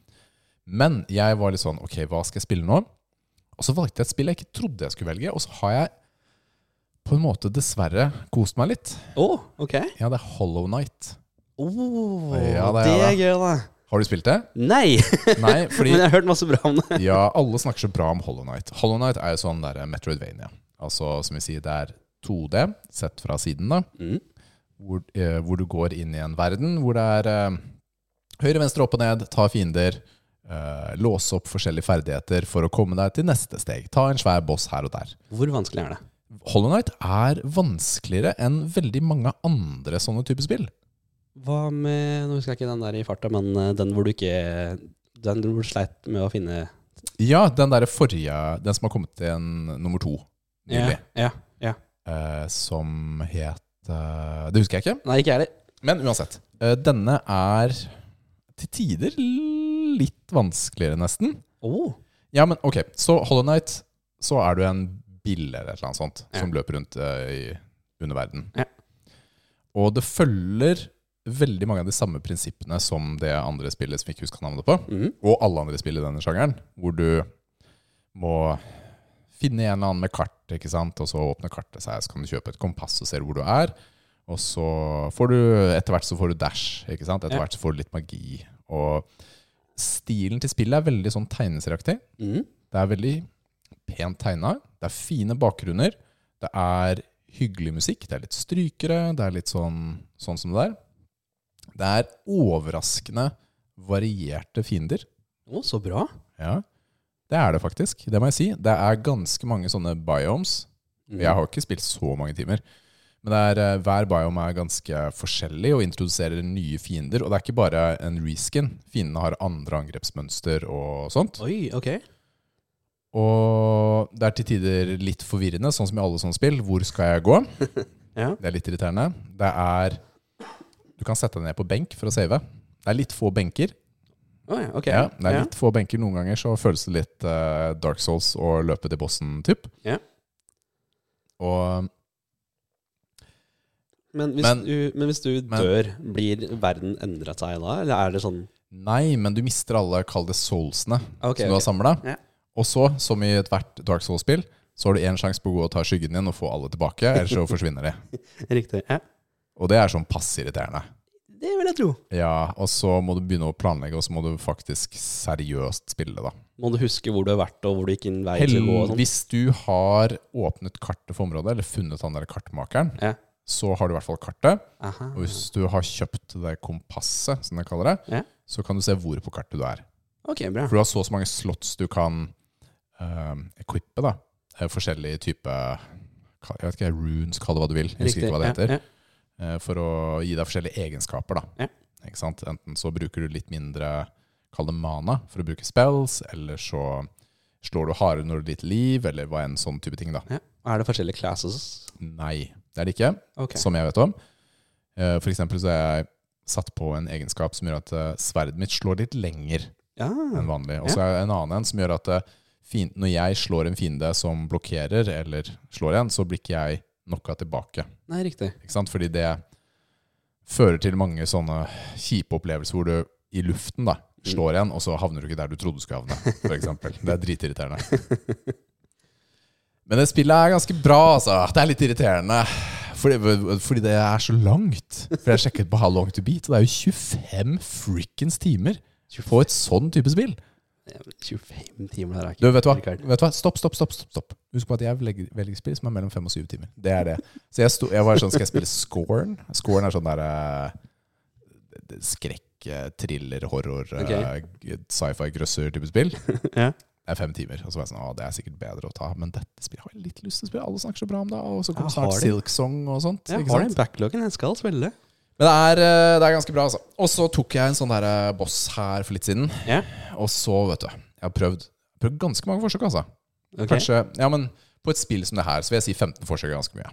Men jeg var litt sånn Ok, hva skal jeg spille nå? Og så valgte jeg et spill jeg ikke trodde jeg skulle velge, og så har jeg på en måte dessverre kost meg litt.
Å, ok.
Ja, det er Hollow Night.
Oh,
Ja,
det,
det er
er gøy, da.
Har du spilt det?
Nei, [laughs]
Nei, fordi
men jeg har hørt masse bra om det.
Ja, alle snakker så bra om Hollow Knight. Hollow Knight er jo sånn der Metroidvania. Altså, som vi sier, det er 2D, sett fra siden, da.
Mm.
Hvor, eh, hvor du går inn i en verden hvor det er eh, høyre, venstre, opp og ned, ta fiender, eh, låse opp forskjellige ferdigheter for å komme deg til neste steg. Ta en svær boss her og der.
Hvor vanskelig er det?
Hollow Knight er vanskeligere enn veldig mange andre sånne typer spill.
Hva med Nå husker jeg ikke den der i farta, men eh, den hvor du ikke Den hvor du sleit med å finne
Ja, den derre forrige, den som har kommet til en nummer to nylig,
Ja, ja.
eh, som het eh, Det husker jeg ikke.
Nei, ikke jeg heller.
Men uansett. eh, Denne er til tider litt vanskeligere, nesten.
Oh.
Ja, men ok. Så Hollow Knight, så er du en bille eller et eller annet sånt
Ja.
som løper rundt eh, i underverden.
Ja.
Og det følger veldig mange av de samme prinsippene som det andre spillet som vi ikke husker navnet på,
Mhm.
og alle andre spill i denne sjangeren, hvor du må finne en eller annen med kart, ikke sant? og så åpner kartet seg, så kan du kjøpe et kompass og ser hvor du er, og så får du, etter hvert så får du dash, ikke sant? Etter
Ja.
hvert så får du litt magi, og stilen til spillet er veldig sånn tegneseraktig.
Mhm.
Det er veldig pent tegna. Det er fine bakgrunner. Det er hyggelig musikk. Det er litt strykere. Det er litt sånn, sånn som det er. Det er overraskende varierte fiender.
Å, så bra.
Ja, det er det faktisk. Det må jeg si. Det er ganske mange sånne biomes.
Mhm.
Jeg har ikke spilt så mange timer. Men det er, eh, hver biome er ganske forskjellig og introduserer nye fiender. Og det er ikke bare en reskin. Fiendene har andre angrepsmønster og sånt.
Oi, ok.
Og det er til tider litt forvirrende, sånn som i alle sånne spill. Hvor skal jeg gå?
Ja.
Det er litt irriterende. Det er Du kan sette deg ned på benk for å save. Det er litt få benker.
Å, ja, ok.
Ja, det er litt få benker Noen ganger så føles det litt eh, Dark Souls å løpe til bossen, typ.
Ja.
Og
Men hvis,
Men-
du, men hvis du dør, blir verden endret seg da? Eller er det sånn
Nei, men du mister alle, kall det soulsene,
Ok,
som du har
ok.
samla.
Ja.
Og så, som i ethvert Dark Souls-spill, så har du én sjanse på å gå og ta skyggen din og få alle tilbake, ellers
[laughs]
så forsvinner de.
Riktig. Ja.
Og det er sånn passe irriterende.
Det vil jeg tro.
Ja, og så må du begynne å planlegge, og så må du faktisk seriøst spille, da.
Må du huske hvor du har vært, og hvor du gikk inn vei til å gå? og sånn?
Hvis du har åpnet kartet for området, eller funnet han der kartmakeren,
Ja.
så har du i hvert fall kartet.
Aha.
Og hvis du har kjøpt det kompasset, som de kaller det,
Ja.
så kan du se hvor på kartet du er.
Ok, bra.
For du har så og så mange slots du kan uh, equippe, da. Eh, Forskjellige typer Jeg vet ikke, runes, kall det hva du vil. Jeg husker ikke hva det heter.
Ja, ja.
eh, for å gi deg forskjellige egenskaper. Da.
Ja.
Ikke sant? Enten så bruker du litt mindre Kall det mana for å bruke spells, eller så slår du hardere når du har lite liv, eller hva enn sånn type ting. Da.
Ja. Er det forskjellige classes?
Nei, det er det ikke,
Ok.
som jeg vet om. Eh, For eksempel så er jeg satt på en egenskap som gjør at eh, sverdet mitt slår litt lenger
Mm. Ja.
enn vanlig. Og så er det en annen en som gjør at eh, fin- når jeg slår en fiende som blokkerer, eller slår en, så blir ikke jeg knocka tilbake.
Nei, riktig.
Ikke sant? Fordi det fører til mange sånne kjipe opplevelser hvor du i luften da, slår igjen, og så havner du ikke der du trodde du skulle havne. For eksempel. det er dritirriterende. Men det spillet er ganske bra, altså. Det er litt irriterende. Fordi, fordi det er så langt. For jeg sjekket på How Long To Beat, og det er jo 25 frikkens timer på et sånn type spill.
25 timer der er
Du,
ikke
vet du hva?
Rikard.
Vet du hva? Stopp, stopp, stopp. stopp, stopp. Husk på at jeg velger, velger spill som er mellom fem og syv timer. Det er det. Så jeg, sto, jeg var sånn, skal jeg spille Scorn? Scorn er sånn der eh, det- det- skrekk, eh, thriller, horror, eh, sci-fi-grøsser-type spill. Det
[laughs] Ja.
er fem timer. Og så var jeg sånn, å, det er sikkert bedre å ta. Men dette spillet har jeg litt lyst til å spille. Alle snakker så bra om det. Og så
Ja,
kommer
har
snart
de?
Silk Song og sånt.
Jeg
ikke
har
sant?
den backloggen. Jeg skal spille.
Men det er, eh, det er ganske bra, altså. Og så tok jeg en sånn der eh, boss her for litt siden.
Ja.
Og så, vet du Jeg har prøvd, prøvd ganske mange forsøk, altså.
Ok.
Kanskje, ja, men På et spill som det her så vil jeg si 15 forsøk er ganske mye.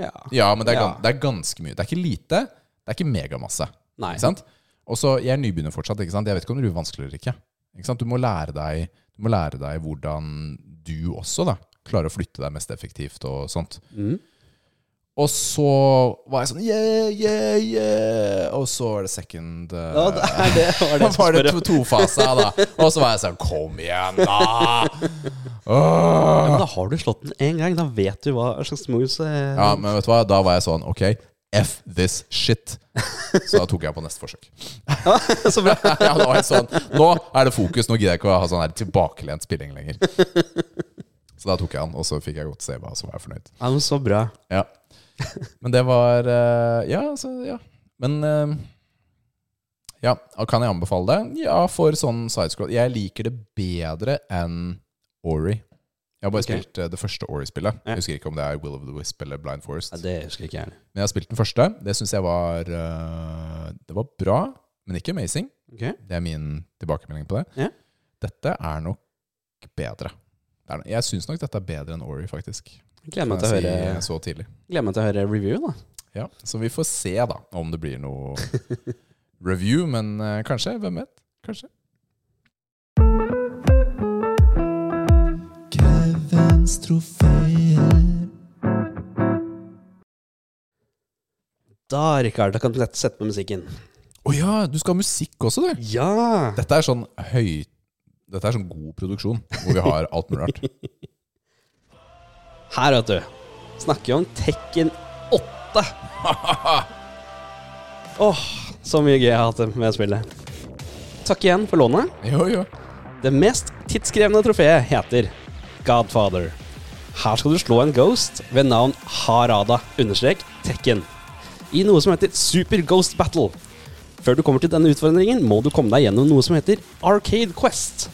Ja.
Ja, men det er,
Ja.
gan- det er ganske mye. Det er ikke lite, det er ikke megamasse.
Nei. [laughs]
Ikke sant? Og så, Jeg er nybegynner fortsatt. ikke sant? Jeg vet ikke om det blir vanskelig eller ikke. ikke sant? Du må lære deg du må lære deg hvordan du også da, klarer å flytte deg mest effektivt og sånt.
Mm.
Og så var jeg sånn yeah, yeah, yeah. Og så var det second eh,
Ja, det er det. Var det
[laughs] da
jeg
var
skulle spørre.
det to, tofasa, da. Og så var jeg sånn Kom igjen, da!
[laughs]
Åh.
Men da har du slått den én gang. Da vet du hva slags moves eh,
Ja, men vet du hva? Da var jeg sånn Ok, F this shit. Så da tok jeg på neste forsøk.
[laughs] Så bra.
[laughs] Ja, da var jeg sånn Nå er det fokus. Nå gidder jeg ikke å ha sånn her tilbakelent spilling lenger. Så da tok jeg den, og så fikk jeg godt save, og så var jeg fornøyd.
Ja, men så bra.
Ja. Men det var eh, Ja, altså, ja. Men eh, Ja, kan jeg anbefale det? Ja, for sånn sidescroll. Jeg liker det bedre enn Ori. Jeg har
Ok.
bare spilt eh, det første Ori-spillet.
Ja.
Jeg husker ikke om det er Will of the Wisp eller Blind Forest.
Ja, det husker jeg ikke jeg.
Men jeg har spilt den første. Det syns jeg var eh, Det var bra, men ikke amazing.
Ok.
Det er min tilbakemelding på det.
Ja.
Dette er nok bedre. Det er, jeg syns nok dette er bedre enn Ori, faktisk.
Gleder meg til
Kan
å
jeg
høre,
si så tidlig.
gleder meg til å høre reviewen, da.
Ja, Så vi får se da om det blir [laughs] noe review, men eh, kanskje. Hvem vet? Kanskje.
Kevins trofeer.
Da, Rikard, da kan du lett sette på musikken.
Å ja, du skal ha musikk også, du!
Ja!
Dette er sånn høy... Dette er sånn god produksjon, hvor vi har alt mulig [laughs] rart.
Her, vet du. Snakker jo om Tekken 8. Åh, så mye gøy jeg har hatt med spillet. Takk igjen for lånet.
Jo, jo.
Det mest tidskrevende trofeet heter Godfather. Her skal du slå en ghost ved navn Harada understrek Tekken i noe som heter Super Ghost Battle. Før du kommer til denne utfordringen, må du komme deg gjennom noe som heter Arcade Quest.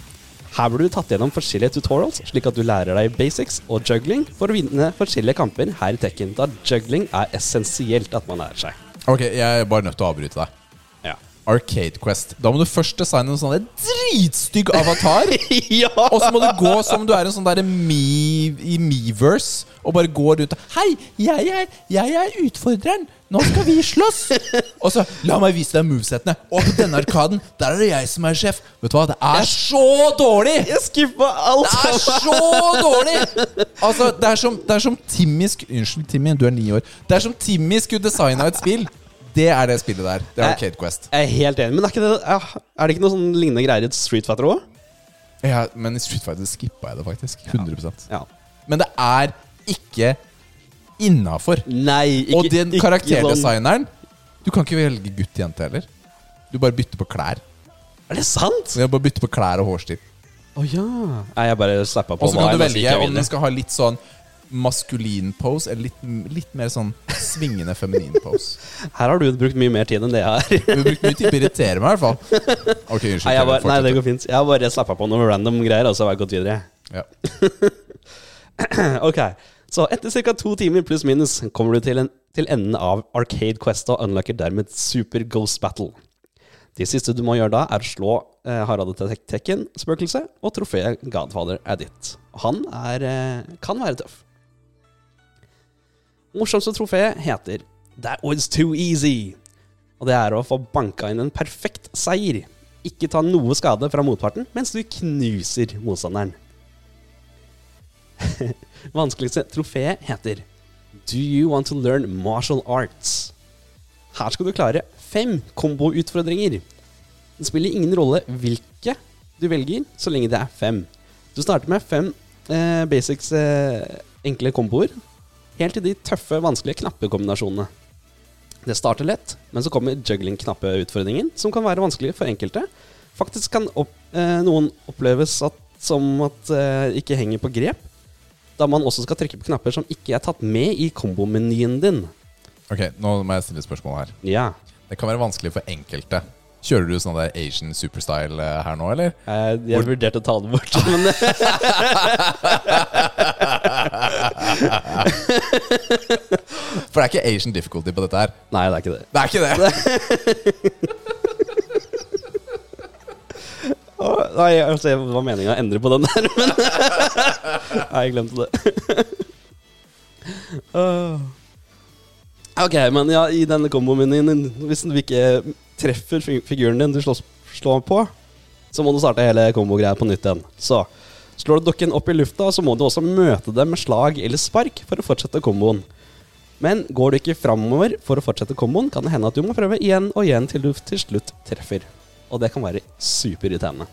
Her blir du tatt gjennom forskjellige tutorials, slik at du lærer deg basics og juggling for å vinne forskjellige kamper her i Tekken, da juggling er essensielt at man lærer seg.
Ok, jeg er bare nødt til å avbryte deg.
Ja. [laughs]
Arcade Quest. Da må du først designe en sånn der dritstygg [laughs] avatar. Og så må du gå som du er en sånn der me, i Meverse og bare gå rundt og Hei, jeg er, jeg er utfordreren. Nå skal vi slåss. [laughs] Og så La meg vise deg movesettene. Og på denne arkaden, der er det jeg som er sjef. Vet du hva, det er så dårlig!
Jeg skippa alt!
Det er så dårlig! Altså, det er som, det er som Timmy sk- Unnskyld, Timmy, du er ni år. Det er som Timmy skulle designa et spill. Det er det spillet der. Det er Arcade Quest.
Jeg er helt enig, men er, ikke det, er er det ikke noe sånn lignende greier i Street Fighter òg?
Ja, men i Street Fighter skippa jeg det faktisk. 100
Ja.
Men det er ikke innafor.
Nei, ikke
Og den
ikke sånn-
karakterdesigneren Du kan ikke velge gutt-jente heller. Du bare bytter på klær.
sånn- Er det sant?
Du kan bare bytte på klær og hårstil.
Å ja. Nei, jeg bare slappa på.
Og så kan
Nei,
du
jeg
velge
liker
om den
det.
skal ha litt sånn maskulin pose eller litt, litt mer sånn svingende feminin pose.
Her har du brukt mye mer tid enn det jeg har.
Du har brukt mye tid på å irritere meg, i hvert fall. Ok, unnskyld.
Nei, jeg bare, nei, det
fortsett.
går fint. Jeg har bare slappa på noen random greier, og så har jeg gått videre.
ja.
[laughs] Ok, så etter ca. to timer pluss minus kommer du til, en, til enden av Arcade Quest og unlocker dermed Super Ghost Battle. Det siste du må gjøre da, er å slå eh, Harald Tek- Tekken-spøkelset, og trofeet Godfather er ditt. Og Han er, eh, kan være tøff. Morsomste trofé heter That was too easy. Og det er å få banka inn en perfekt seier. Ikke ta noe skade fra motparten mens du knuser motstanderen. Vanskeligste trofeet heter Do you want to learn martial arts? Her skal du klare fem komboutfordringer. Det spiller ingen rolle hvilke du velger, så lenge det er fem. Du starter med fem eh, basics eh, enkle komboer, helt til de tøffe, vanskelige knappekombinasjonene. Det starter lett, men så kommer juggling-knappeutfordringen, som kan være vanskelig for enkelte, faktisk kan opp, eh, noen oppleves at, som at eh, ikke henger på grep, da man også skal trykke på knapper som ikke er tatt med i kombomenyen din.
Ok, nå må jeg stille et spørsmål her.
Ja.
Det kan være vanskelig for enkelte. Kjører du sånn der Asian superstyle eh, her nå, eller?
Jeg, jeg vurderte å ta det bort, men
For det er ikke Asian difficulty på dette her.
[laughs] Nei, det er ikke det.
Det er ikke det!
Å, Nei, altså, jeg var meningen å endre på den der, men [laughs] Nei, jeg glemte det. [laughs] Åh. ok, men ja, i denne kombomenyen din, hvis du ikke treffer fi- figuren din du slåss, slår på, så må du starte hele kombogreia på nytt igjen. Så slår du dukken opp i lufta, så må du også møte dem med slag eller spark for å fortsette komboen. Men går du ikke framover for å fortsette komboen, kan det hende at du må prøve igjen og igjen til du til slutt treffer. Og det kan være superirriterende.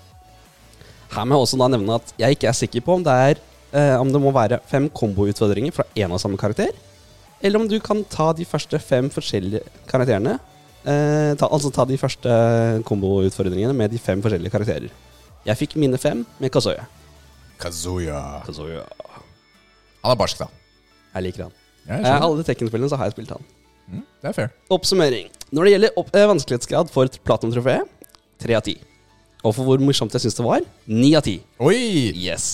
Her må jeg også da nevne at jeg ikke er sikker på om det, er, eh, om det må være fem komboutfordringer fra én og samme karakter, eller om du kan ta de første fem forskjellige karakterene eh, ta, Altså ta de første komboutfordringene med de fem forskjellige karakterer. Jeg fikk mine fem med Kazuya.
Kazuya.
[laughs] Kazuya.
Han er barsk, da.
Jeg liker han.
Ja, jeg
Eh,
skjønner.
alle de Tekken-spillene så har jeg spilt han.
Mm, det er fair.
Oppsummering. Når det gjelder opp, eh, vanskelighetsgrad for Platinum-trofeet, 3 av 10. Og for hvor morsomt jeg syns det var, 9 av 10.
Oi!
Yes.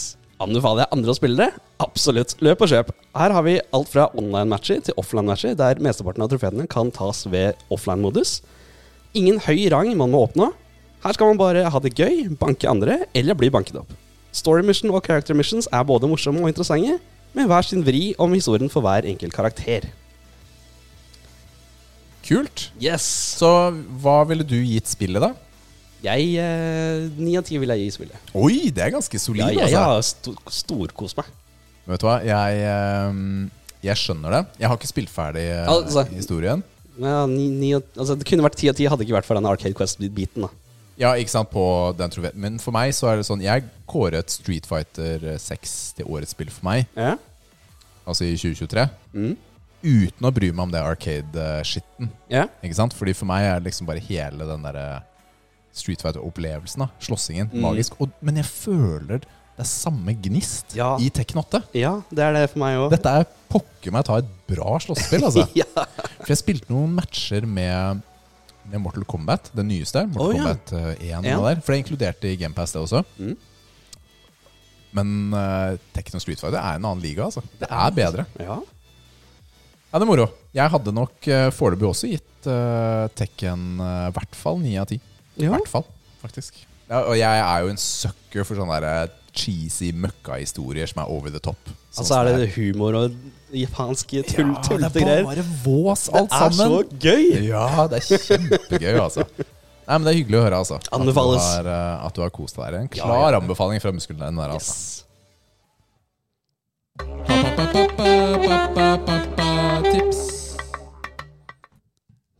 Anbefaler jeg andre å spille det? Absolutt. Løp og kjøp. Her har vi alt fra online-matcher til offline-matcher, der mesteparten av trofeene kan tas ved offline-modus. Ingen høy rang man må oppnå. Her skal man bare ha det gøy, banke andre, eller bli banket opp. Story mission og character missions er både morsomme og interessante, med hver sin vri om historien for hver enkelt karakter.
Kult.
Yes!
Så hva ville du gitt spillet, da?
Jeg, eh, 9 av 10 vil jeg gi spillet.
Oi, det er ganske solid,
Ja, jeg
altså.
har sto storkost meg.
Vet du hva, jeg, ehm, jeg skjønner det. Jeg har ikke spilt ferdig eh,
Altså.
historien.
Ja, ni, ni, av- altså, det kunne vært 10 av 10 hadde det ikke vært for den Arcade Quest-biten. da.
Ja, ikke sant, på den tror jeg- Men for meg så er det sånn Jeg kåret Street Fighter 6 til årets spill for meg,
Ja.
altså i 2023.
Mm.
Uten å bry meg om det eh, Arcade-skitten.
ja.
Ikke sant? Fordi for meg er det liksom bare hele den derre Street Fighter-opplevelsen, da. Slåssingen.
Mm.
Magisk. Og, men jeg føler det er samme gnist
Ja.
i Tekken 8.
Ja, det er det for meg òg.
Dette er pokker meg ta et bra
[laughs]
slåssespill, altså.
Ja.
For jeg spilte noen matcher med, med Mortal Kombat, den nyeste. Mortal
Å, ja.
Kombat eh, 1
Ja.
og der, For det inkluderte i GamePass, det også.
Mm.
Men uh, Tekno Street Fighter er en annen liga, altså. Det er bedre.
ja.
Ja, det er moro. Jeg hadde nok uh, foreløpig også gitt eh, Tekken i hvert fall 9 av 10. I
Ja.
hvert fall, faktisk. Ja, og jeg er jo en sucker for sånne der eh, cheesy møkkahistorier som er over the top. Sånn
Altså
som
er
her.
det humor og japanske tull,
ja,
tullete
det er
greier.
bare vås, alt
Det er
sammen.
så gøy!
Ja, det er kjempegøy, altså. Nei, men Det er hyggelig å høre. altså
Anbefales.
At du har, eh, at du har kost deg. En
Ja,
klar
ja.
anbefaling fra muskelnæringen der.
Yes.
altså Tips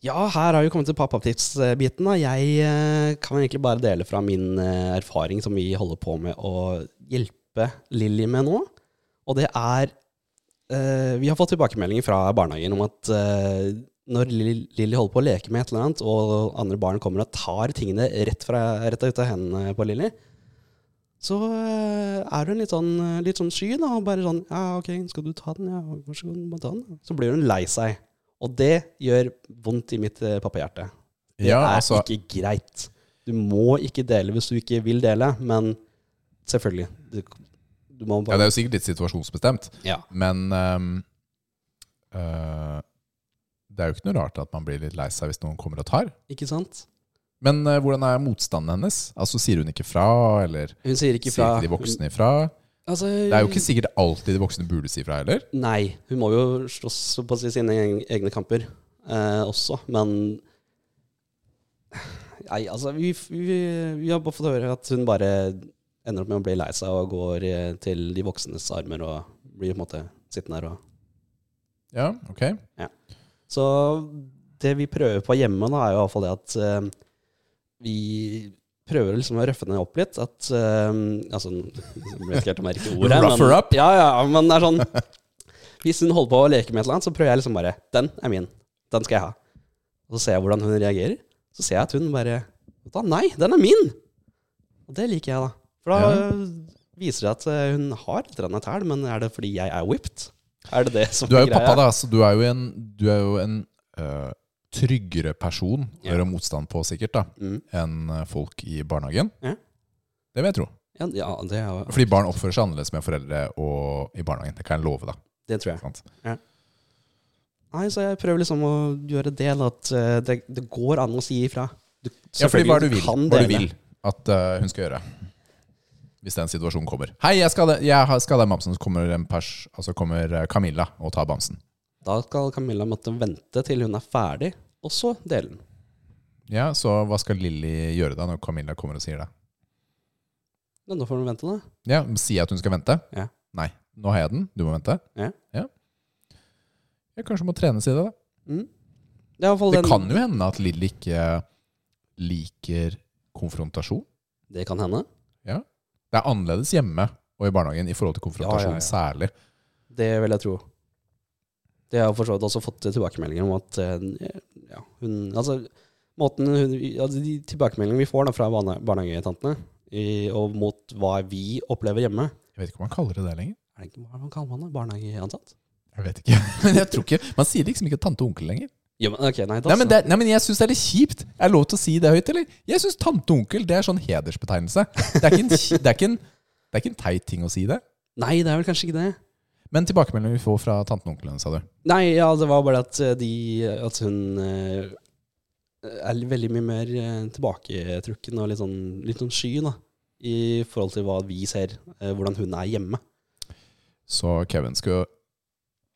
Ja, her har vi kommet til pappatips-biten. da. Jeg eh, kan vel egentlig bare dele fra min eh, erfaring som vi holder på med å hjelpe Lilly med nå. Og det er eh, Vi har fått tilbakemeldinger fra barnehagen om at eh, når Lilly Lilly holder på å leke med et eller annet, og andre barn kommer og tar tingene rett, fra, rett ut av hendene på Lilly, så eh, er hun litt sånn, litt sånn sky da, og bare sånn Ja, ok, skal du ta den? Ja, vær så god, bare ta den. Så blir hun lei seg. Og det gjør vondt i mitt eh, pappahjerte. Det
Ja,
er
altså,
ikke greit. Du må ikke dele hvis du ikke vil dele, men selvfølgelig. Du, du må
ja, det
bare
er jo sikkert litt situasjonsbestemt,
Ja.
men ehm, eh, Det er jo ikke noe rart at man blir litt lei seg hvis noen kommer og tar.
Ikke sant?
Men eh, hvordan er motstanden hennes? Altså Sier hun ikke fra, eller
Hun sier ikke
sier
fra
ikke de voksne ifra?
Altså,
Det er jo ikke sikkert alltid de voksne burde si fra heller.
Nei. Hun må jo slåss på sine egen- egne kamper eh, også, men Nei, altså vi, vi, vi har bare fått høre at hun bare ender opp med å bli lei seg og går eh, til de voksnes armer og blir på en måte sittende her og
Ja, ok
Så det vi prøver på hjemme, da, er jo iallfall det at eh, vi prøver liksom å røffe ned opp litt. At eh, Altså, [laughs] jeg vet ikke helt om jeg rekker ordet. men-
Rough her up?
Ja, ja, men det er sånn Hvis hun holder på å leke med et eller annet, så prøver jeg liksom bare Den er min. Den skal jeg ha. Og så ser jeg hvordan hun reagerer. Så ser jeg at hun bare da, Nei, den er min! Og det liker jeg, da. For da viser det at eh, hun har litt grann tæl, men er det fordi jeg er whipped? Er det det som
Du er jo
greia?
pappa, da, så du er jo en, du er jo en øh, tryggere person å
Ja.
gjøre motstand på, sikkert, da,
Mm.
enn øh, folk i barnehagen.
Ja.
Det vil jeg tro.
Ja, ja det, er, jo-
Fordi barn oppfører seg annerledes med foreldre og i barnehagen. Det kan jeg love, da.
det tror jeg.
Sant?
Nei, så jeg prøver liksom å gjøre det, da, at eh, det, det går an å si ifra. Du,
Ja, fordi hva er det du vil,
kan
hva er det du
dele.
vil at øh, hun skal gjøre? Hvis den situasjonen kommer. 'Hei, jeg skal, jeg har- skal den bamsen.' Så kommer, en pers, altså kommer øh, Camilla og tar bamsen.
Da skal Camilla måtte vente til hun er ferdig, og så dele den.
Ja, Så hva skal Lilly gjøre da, når Camilla kommer og sier det?
Men nå får hun vente, da.
Ja, men Sier jeg at hun skal vente?
Ja.
Nei, nå har jeg den. Du må vente.
Ja.
Jeg kanskje må trenes i det, da.
Mm. Det, er i hvert fall
Det
den-
kan jo hende at Lilly ikke liker konfrontasjon.
det kan hende.
Det er annerledes hjemme og i barnehagen i forhold til konfrontasjon
Ja, ja, ja.
særlig.
Det vil jeg tro. Det har jeg for så vidt også fått tilbakemeldinger om at eh, ja, hun Altså, måten hun altså, De tilbakemeldingene vi får da fra barne, barnehagetantene, i, og mot hva vi opplever hjemme
Jeg vet ikke om man kaller det det lenger.
er det ikke, Hva man kaller man det? Barnehageansatt?
Jeg vet ikke. [laughs] Men jeg tror ikke Man sier liksom ikke tante og onkel lenger.
Ja, men, ok, nei, da,
Nei, men,
så.
det, nei, men jeg syns det er litt kjipt. Er det lov til å si det høyt, eller? Jeg syns tante og onkel det er sånn hedersbetegnelse. Det er ikke en, kji- det er ikke en, det er ikke en teit ting å si det.
nei, det er vel kanskje ikke det.
Men tilbakemeldingen vi får fra tanten og onkelen, sa du.
Nei, ja, det var bare at eh, de At hun eh, er veldig mye mer eh, tilbaketrukken og litt sånn, litt sånn sky, da. I forhold til hva vi ser, eh, hvordan hun er hjemme.
Så Kevin, skal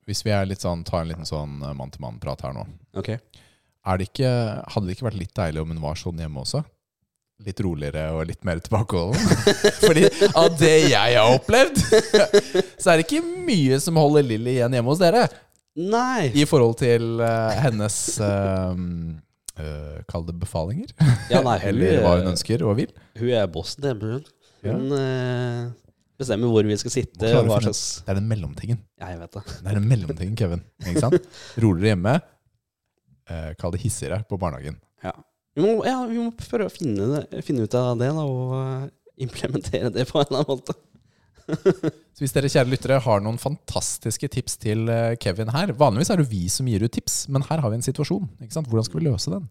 Hvis vi er litt sånn, tar en liten sånn eh, mann-til-mann-prat her nå
Ok.
er det ikke, Hadde det ikke vært litt deilig om hun var sånn hjemme også? Litt roligere og litt mer tilbakeholden? [laughs] Fordi av det jeg har opplevd, [laughs] så er det ikke mye som holder Lilly igjen hjemme hos dere.
Nei!
I forhold til eh, hennes eh, eh, Kall det befalinger.
Ja, nei, hun,
Eller hva hun
eh,
ønsker og vil.
Hun er bossen hjemme, hun. Hun eh, bestemmer hvor vi skal
Må
sitte,
klare å
og hva
finne-
slags
Det er den mellomtingen.
Ja, jeg vet det.
Det er den mellomtingen, Kevin. Ikke sant? Roligere hjemme. eh, kall det hissigere på barnehagen.
Vi må, ja, vi må prøve å finne, det- finne ut av det, da, og eh, implementere det på en eller annen måte.
Så hvis dere kjære lyttere har noen fantastiske tips til eh, Kevin her Vanligvis er det vi som gir ut tips, men her har vi en situasjon. Ikke sant? Hvordan skal vi løse den?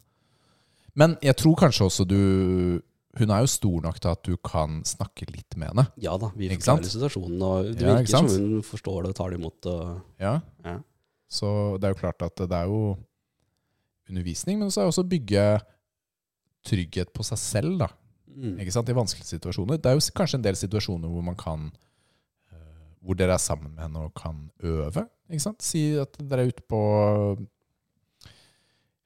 Men jeg tror kanskje også du Hun er jo stor nok til at du kan snakke litt med henne.
Ja da, vi
Ikke sant?
forklarer situasjonen, og det
Ja, ikke
virker som
sant?
hun forstår det og tar det imot. Og,
Ja.
Ja.
Så det er jo klart at det er jo undervisning, men så er det også å bygge trygghet på seg selv, da.
mm.
Ikke sant? I vanskelige situasjoner. Det er jo s- kanskje en del situasjoner hvor man kan eh, Hvor dere er sammen med henne og kan øve. Ikke sant? Si at dere er ute på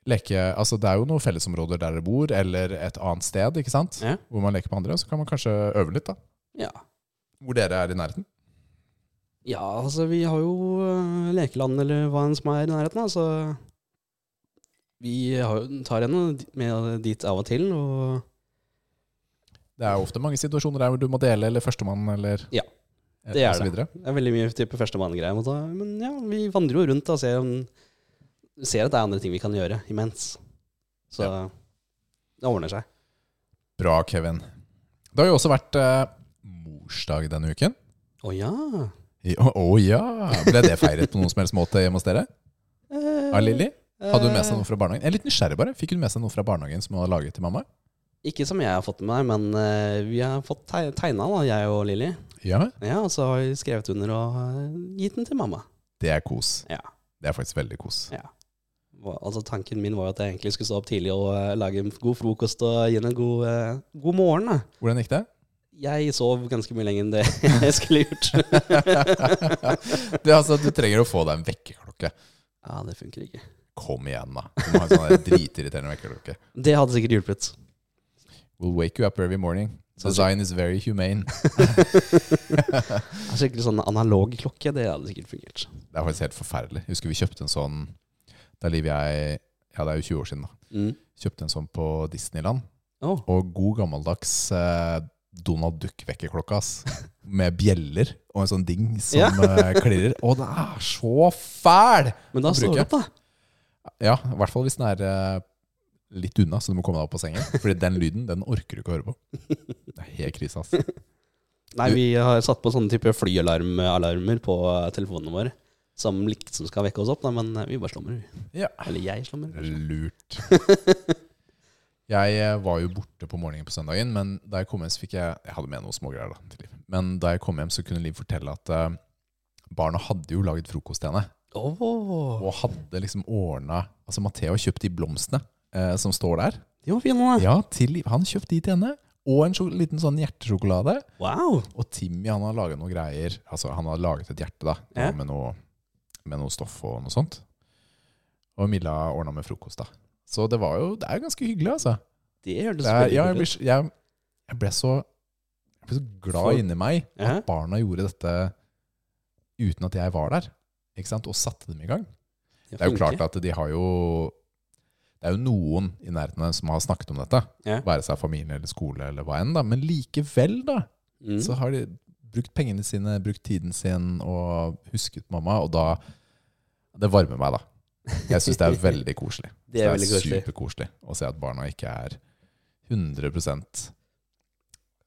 leke Altså Det er jo noen fellesområder der dere bor, eller et annet sted ikke sant?
Ja.
hvor man leker med andre. og Så kan man kanskje øve litt, da.
Ja.
Hvor dere er i nærheten.
ja, altså vi har jo eh, lekeland eller hva enn som er i nærheten, da, så vi har, jo- tar henne med dit av og til, og
Det er jo ofte mange situasjoner der hvor du må dele, eller førstemann, eller
Ja,
eh,
det er
og så
det.
videre.
Det er veldig mye type førstemann-greier. mot det, Men ja, vi vandrer jo rundt da, og ser, om, ser at det er andre ting vi kan gjøre imens. Så det ordner seg.
Bra, Kevin. Det har jo også vært eh, morsdag denne uken.
Å ja!
I- Å å ja! Ble det feiret på noen som helst måte hjemme hos dere?
Eh,
Ja, Lilly? Hadde hun med seg
eh,
noe fra barnehagen? Jeg er litt nysgjerrig bare. Fikk hun med seg noe fra barnehagen som hun hadde laget til mamma?
Ikke som jeg har fått med meg, men eh, vi har fått teg- tegna, da, jeg og Lilly.
Ja.
Ja, og så har vi skrevet under og eh, gitt den til mamma.
Det er kos.
Ja.
Det er faktisk veldig kos.
ja. Hva- Altså Tanken min var jo at jeg egentlig skulle stå opp tidlig og eh, lage en god frokost og gi henne en god, eh, god morgen. da.
Hvordan gikk det? [laughs]
Jeg sov ganske mye lenger enn det [laughs] jeg skulle gjort.
det er altså at Du trenger å få deg en vekkerklokke.
ja, det funker ikke.
Kom igjen, da. Du må ha en sånn der dritirriterende vekkerklokke.
Det hadde sikkert hjulpet.
We'll wake you up every morning. Design is very humane.
En Skikkelig sånn analog klokke, det hadde sikkert fungert.
Det er faktisk helt forferdelig. Jeg husker vi kjøpte en sånn Da Liv jeg Ja, det er jo 20 år siden, da.
Mm.
Kjøpte en sånn på Disneyland.
Å,
Og god gammeldags eh, Donald Duck-vekkerklokka, ass. Med bjeller og en sånn ding som
Ja.
eh, klirrer. Og den er så fæl!
men da
Å
står
bruke.
det opp, da.
Ja, i hvert fall hvis den er eh, litt unna, så du må komme deg opp av sengen. Fordi den lyden den orker du ikke å høre på. Det er helt krise, ass.
Nei, vi har satt på sånne type flyalarmer på eh, telefonene våre. Som liksom skal vekke oss opp, da, men eh, vi bare slummer.
Ja.
Eller jeg slummer.
Lurt. [laughs] Jeg eh, var jo borte på morgenen på søndagen, men da jeg kom hjem, så fikk jeg Jeg hadde med noen smågreier da, til Liv. Men da jeg kom hjem, så kunne Liv fortelle at eh, barna hadde jo laget frokost til henne.
Åh,
Og hadde liksom ordna Altså, Matheo har kjøpt de blomstene eh, som står der.
de var fine, da.
Ja, til Liv. Han kjøpte de til henne. Og en sjok- liten sånn hjertesjokolade.
Wow.
Og Timmy han har laget noen greier Altså han har laget et hjerte da
Ja.
Med, noe, med noe stoff og noe sånt Og Milla ordnet med frokost da Så det var jo, det er jo ganske hyggelig altså
Det hørtes
det er,
veldig
ja, jeg,
kult ut.
ble, s- jeg, jeg ble så Jeg ble så glad
For-
inni meg
Ja.
At barna gjorde dette Uten at jeg var der Ikke sant, og satte dem i gang
De
det er jo
flinke.
klart at de har jo Det er jo noen i nærheten av dem som har snakket om dette.
Ja.
Være seg familie eller skole eller hva enn, da. Men likevel, da,
Mm.
så har de brukt pengene sine, brukt tiden sin og husket mamma, og da Det varmer meg, da. Jeg syns det er veldig koselig.
[laughs] Det er veldig koselig.
superkoselig å se at barna ikke er 100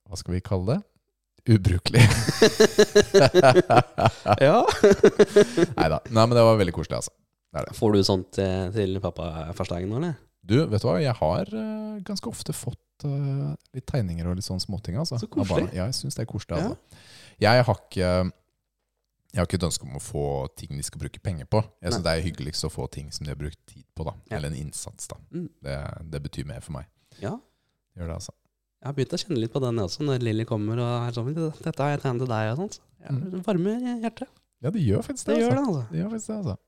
Hva skal vi kalle det? Ubrukelig.
ja.
[laughs] Neida. Nei men det var veldig koselig, altså.
Får du sånt eh, til pappa-farsdagen nå, eller?
Du, vet du hva? Jeg har eh, ganske ofte fått eh, litt tegninger og litt sånn småting. Altså,
Så
av barna.
koselig.
Ja, jeg syns det er koselig.
Ja.
Altså. Jeg har ikke jeg har ikke et ønske om å få ting de skal bruke penger på. Jeg synes Det er hyggeligst å få ting som de har brukt tid på, da.
Ja.
eller en innsats. da.
Mm.
Det, det betyr mer for meg.
Ja.
Gjør det altså.
Jeg har begynt å kjenne litt på den også, når Lilly kommer og er sånn Dette har jeg tegnet til deg, og sånt. Jeg
Mm.
varmer hjertet.
Ja, det gjør faktisk
Det
det.
gjør
altså.
det, altså.
Det gjør faktisk det, altså.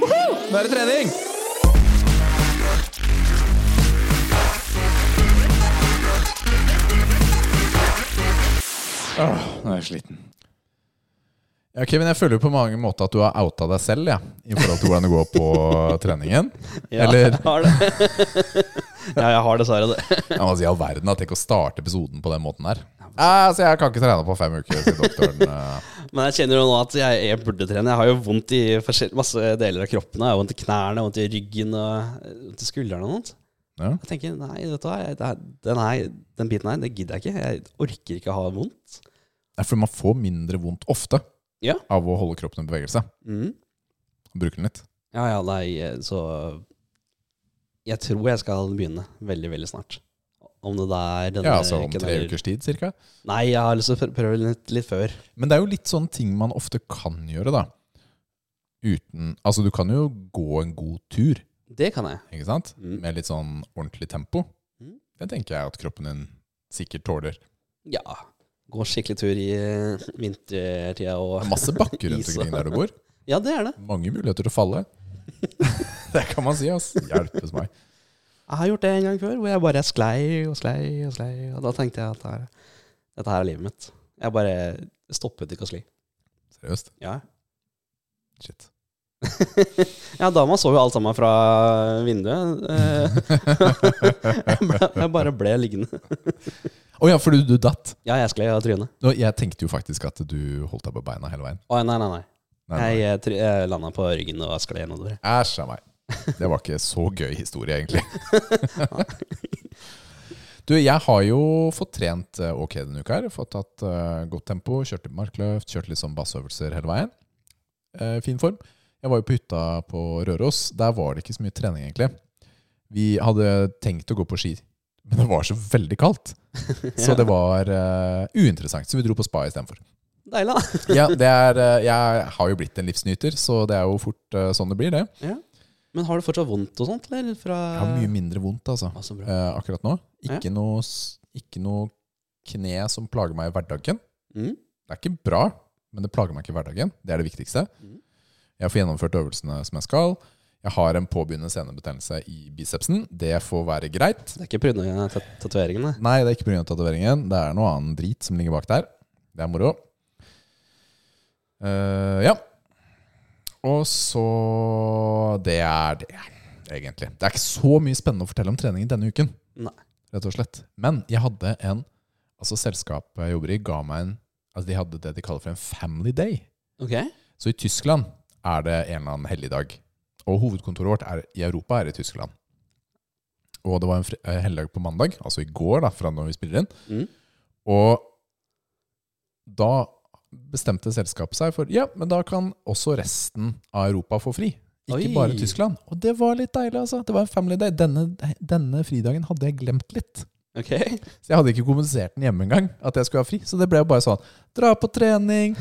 Nå er det trening!
Åh, nå er jeg sliten. Ja, Kevin, jeg føler jo på mange måter at du har outa deg selv ja, i forhold til hvordan det går
[laughs]
på treningen.
Ja,
Eller-
jeg [laughs] har det. [laughs] ja, jeg har dessverre det.
Ja, altså, I all verden, da. Tenk å starte episoden på den måten her. Eh, altså, jeg kan ikke trene på fem uker, sier doktoren. Eh,
Men jeg kjenner jo nå at jeg, jeg burde trene. Jeg har jo vondt i forskjell- masse deler av kroppen. Jeg har vondt i knærne, vondt i ryggen og eh, vondt i skuldrene og sånt.
Ja.
Jeg tenker nei, vet du hva, jeg- det er- den, her, den biten her, det gidder jeg ikke. Jeg orker ikke å ha vondt.
Det er fordi man får mindre vondt ofte
Ja.
av å holde kroppen i bevegelse.
Mm.
Bruke den litt.
Ja, ja, nei, eh, så Jeg tror jeg skal begynne veldig, veldig snart. Om det der denne
Ja, altså om
uken
tre
eller-
ukers tid, cirka.
Nei, jeg har lyst til å pr- prøve litt, litt før.
Men det er jo litt sånne ting man ofte kan gjøre, da. Uten Altså, du kan jo gå en god tur,
Det kan jeg.
ikke sant?
Mm.
Med litt sånn ordentlig tempo.
Mm.
Det tenker jeg at kroppen din sikkert tåler.
Ja. Gå skikkelig tur i eh, vintertida
Det
og
er masse bakker rundt
Is.
omkring der du bor.
Ja, det er det.
Mange muligheter til å falle.
[laughs]
Det kan man si, ass. Hjelpes meg.
Jeg har gjort det en gang før, hvor jeg bare sklei og sklei og sklei. Og da tenkte jeg at det her, dette her er livet mitt. Jeg bare stoppet ikke å skli.
Seriøst.
Ja.
Shit.
ja, dama så jo alt sammen fra vinduet. eh, [laughs] jeg, ble, jeg bare ble liggende.
Å ja, for du, du datt.
Ja, jeg sklei av trynet.
Nå, jeg tenkte jo faktisk at du holdt deg på beina hele veien.
Å, nei, nei, nei.
Nei,
Jeg,
nei.
jeg, try- jeg landa på ryggen og sklei nedover.
Æsj a meg. Det var ikke så gøy historie, egentlig. Du, jeg har jo fått trent eh, ok denne uka her. Fått tatt eh, godt tempo, kjørt litt markløft, kjørt litt sånn bassøvelser hele veien. Eh, fin form. Jeg var jo på hytta på Røros. Der var det ikke så mye trening, egentlig. Vi hadde tenkt å gå på ski, men det var så veldig kaldt. Så det var eh, uinteressant, så vi dro på spa istedenfor.
Deilig, da.
Ja, det er, eh, jeg har jo blitt en livsnyter, så det er jo fort eh, sånn det blir, det.
Men har du fortsatt vondt og sånt, eller? Fra
Jeg har mye mindre vondt altså,
Å, så bra.
eh, akkurat nå. Ikke noe, s- ikke noe kne som plager meg i hverdagen.
Mm.
Det er ikke bra, men det plager meg ikke i hverdagen. Det er det viktigste.
Mhm.
Jeg får gjennomført øvelsene som jeg skal. Jeg har en påbegynnende senebetennelse i bicepsen. Det får være greit.
Det er ikke prunetatoveringene?
Nei, det er ikke pga. tatoveringen. Det er noe annen drit som ligger bak der. Det er moro. Eh, ja. Og så Det er det, egentlig. Det er ikke så mye spennende å fortelle om treningen denne uken.
Nei.
Rett og slett. Men jeg hadde en Altså Selskapet jeg jobber i, ga meg en Altså De hadde det de kaller for en family day.
Ok.
Så i Tyskland er det en eller annen helligdag Og hovedkontoret vårt er, i Europa er i Tyskland. Og det var en fri- eh, helligdag på mandag, altså i går, da, fra når vi spiller inn.
Mm.
Og da bestemte selskapet seg for ja, men da kan også resten av Europa få fri. Ikke
Oi.
bare Tyskland. Og det var litt deilig, altså. Det var en family day. Denne, denne fridagen hadde jeg glemt litt.
Ok.
Så jeg hadde ikke kommunisert den hjemme engang, at jeg skulle ha fri. Så det ble jo bare sånn dra på trening,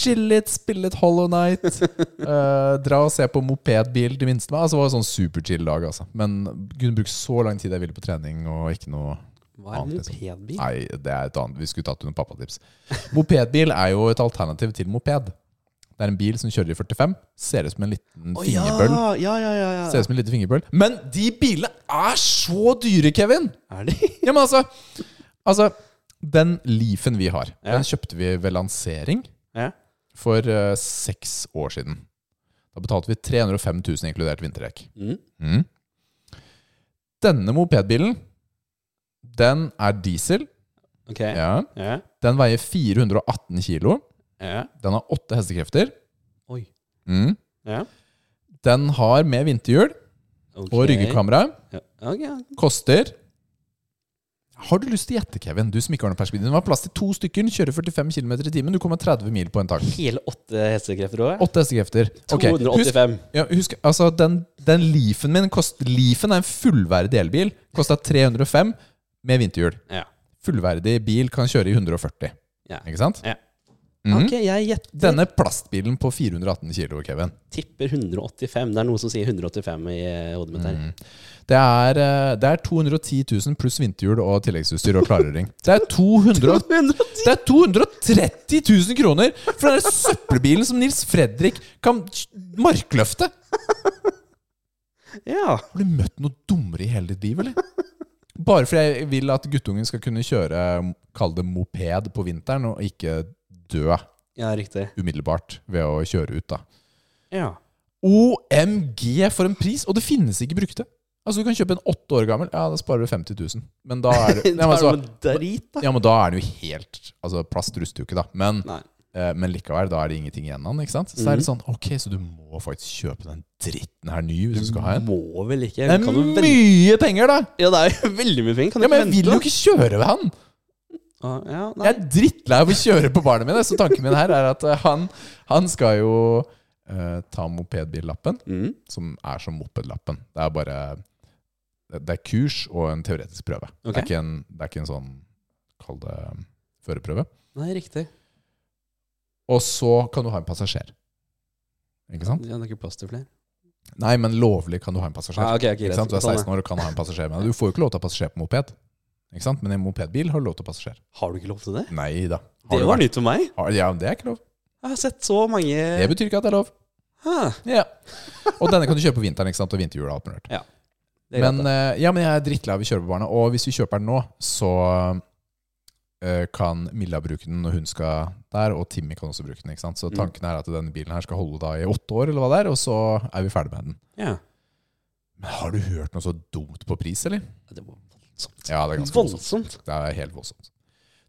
chill litt, spille litt Hollow Night, eh, dra og se på mopedbil til minste meg. Altså, det var en sånn superchill dag, altså. Men kunne brukt så lang tid jeg ville på trening, og ikke noe
Hva er en
Annet, liksom.
mopedbil?
Nei, det er et annet. Vi skulle tatt under pappatips. Mopedbil er jo et alternativ til moped. Det er en bil som kjører i 45. Ser ut som en liten
Å, ja,
fingerbøll.
ja, ja, ja, ja.
Ser ut som en liten fingerbøll. Men de bilene er så dyre, Kevin!
Er de?
Ja, men altså, altså Den Leafen vi har,
Ja.
den kjøpte vi ved lansering
Ja.
for eh, seks år siden. Da betalte vi 305 000 inkludert vinterdekk.
Mm.
Mm. Denne mopedbilen, den er diesel.
Ok. Ja.
Ja.
Ja.
Den veier 418 kilo.
Ja.
Den har åtte hestekrefter.
Oi.
Mm.
Ja.
Den har med vinterhjul
Ok.
og ryggekamera.
Ja. Ok, ja.
Koster Har du lyst til å gjette, Kevin? Du som ikke har noe perspektiv. Den var plass til to stykker, kjører 45 km i timen. Du kommer 30 mil på en tak.
Hele åtte hestekrefter òg?
Åtte hestekrefter. Ok, Husk,
285.
ja, husk altså, den, den Leafen min kost, Leafen er en fullverdig elbil. Kosta 305 med vinterhjul.
Ja.
Fullverdig bil kan kjøre i 140.
Ja.
Ikke sant?
Ja.
Mhm.
Ok, jeg gjetter.
Denne plastbilen på 418 kilo, Kevin.
tipper 185. Det er noe som sier 185 i eh, hodet mitt her.
Mm. Det er, eh, det er 210 000 pluss vinterhjul og tilleggsutstyr og klargjøring. Det er
[laughs]
200 og-
110.
det er 230 000 kroner for den der søppelbilen som Nils Fredrik kan markløfte!
Ja.
Har du møtt noe dummere i hele ditt liv, eller? Bare fordi jeg vil at guttungen skal kunne kjøre kall det moped på vinteren, og ikke dø
ja, riktig.
umiddelbart ved å kjøre ut, da.
Ja.
OMG for en pris! Og det finnes ikke brukte. Altså Du kan kjøpe en åtte år gammel. Ja, da sparer du 50 000. Men da
[laughs]
er
Det
det Nei, men
er
altså,
noe drit, da.
ja, men da er den jo helt Altså Plast ruster jo ikke, da. Men,
Nei.
eh, men likevel, da er det ingenting igjen av den. ikke sant? Så det
Mhm.
er litt sånn Ok, så du må faktisk kjøpe den dritten her ny hvis du skal ha en.
Må vel ikke.
Det
Mm. Kan
er
du vente?
mye penger, da!
Ja, det er jo [laughs] veldig mye penger. Kan du
Ja, Men jeg
vente,
vil
da?
jo ikke kjøre ved han!
Ah, Ja,
Jeg
nei.
er drittlei av å kjøre på barna mine. Så tanken min her er at eh, han, han skal jo eh, ta mopedbillappen.
Mm.
som er som mopedlappen. Det er bare Det er kurs og en teoretisk prøve.
Ok.
Det, er ikke en, det er ikke en sånn Kall det førerprøve.
Nei, riktig.
Og så kan du ha en passasjer. Ikke sant?
Ja, det er ikke plass til flere.
Nei, men lovlig kan du ha en passasjer.
Ah, ok, ok,
ikke
greit.
sant? Du er
Sånn, ja.
16 år og kan ha en passasjer med deg. Du får jo ikke lov til å ha passasjer på moped. Ikke sant? Men i en mopedbil har du lov til å ha passasjer.
Har du ikke lov til det?
Nei da. Har
Det
du
var
vært-
nytt for meg.
har- Ja, det er ikke lov.
Jeg har sett så mange
Det betyr ikke at det er lov.
Ah,
Ja. Og denne kan du kjøpe på vinteren ikke sant? og vinterhjul og alt mulig.
det er greit,
Men,
da.
eh, ja, men jeg er drittlei av å kjøre på barna. Og hvis vi kjøper den nå, så eh, kan Milla bruke den når hun skal der, og Timmy kan også bruke den. ikke sant? Så
Mm.
tanken er at denne bilen her skal holde da i åtte år, eller hva det er, og så er vi ferdig med den.
ja.
Men har du hørt noe så dumt på pris, eller?
Det var voldsomt.
Ja, det er ganske voldsomt.
Voldsomt.
Det er helt voldsomt.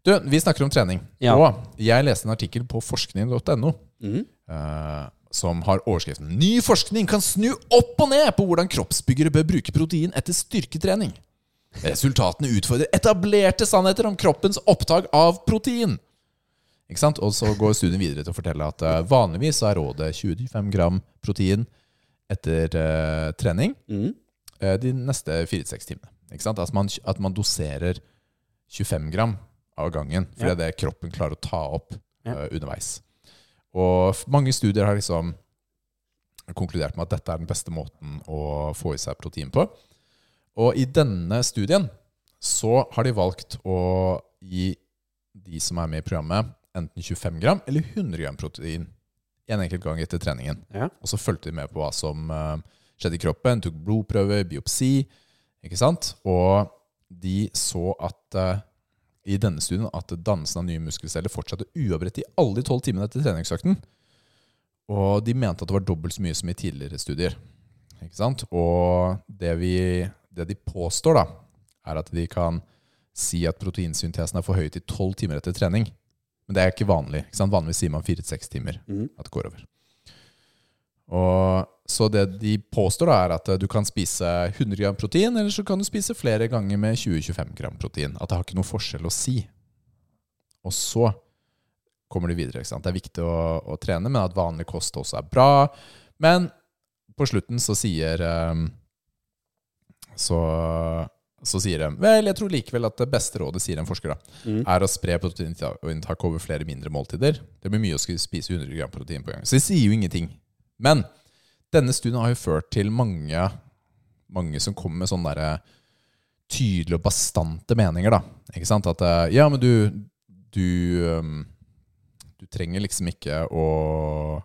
Du, vi snakker om trening.
Ja.
Og jeg leste en artikkel på forskning.no
Mm.
eh, som har overskriften 'Ny forskning kan snu opp og ned på hvordan kroppsbyggere bør bruke protein etter styrketrening'. Resultatene utfordrer etablerte sannheter om kroppens opptak av protein. Ikke sant? Og så går studien videre til å fortelle at eh, vanligvis så er rådet 25 gram protein etter eh, trening
Mm.
eh, de neste 4-6 timene. Ikke sant? At, man, at man doserer 25 gram av gangen, for
Ja.
det er det kroppen klarer å ta opp
Ja.
eh, underveis. Og f- mange studier har liksom konkludert med at dette er den beste måten å få i seg protein på. Og i denne studien så har de valgt å gi de som er med i programmet, enten 25 gram eller 100 gram protein en enkelt gang etter treningen.
Ja.
Og så fulgte de med på hva som eh, skjedde i kroppen, tok blodprøver, biopsi, ikke sant? Og de så at eh, i denne studien at dannelsen av nye muskelceller fortsatte uavbrutt i alle de tolv timene etter treningsøkten. Og de mente at det var dobbelt så mye som i tidligere studier. Ikke sant? Og det, vi, det de påstår, da, er at de kan si at proteinsyntesen er for høyt i tolv timer etter trening. Men det er ikke vanlig. Ikke sant? Vanligvis sier man fire til seks timer
Mhm.
at det går over. Og Så det de påstår, da er at eh, du kan spise 100 gram protein, eller så kan du spise flere ganger med 20-25 gram protein. At det har ikke noe forskjell å si. Og så kommer de videre. ikke sant? Det er viktig å, å trene, men at vanlig kost også er bra. Men på slutten så sier eh, Så, så sier de Vel, jeg tror likevel at det beste rådet, sier en forsker, da, er å spre proteininntak over flere mindre måltider. Det blir mye å skulle spise 100 gram protein på en gang. Så de sier jo ingenting. Men denne studien har jo ført til mange, mange som kommer med sånne derre tydelige og bastante meninger, da. Ikke sant? At eh, ja, men du Du, ehm, du trenger liksom ikke å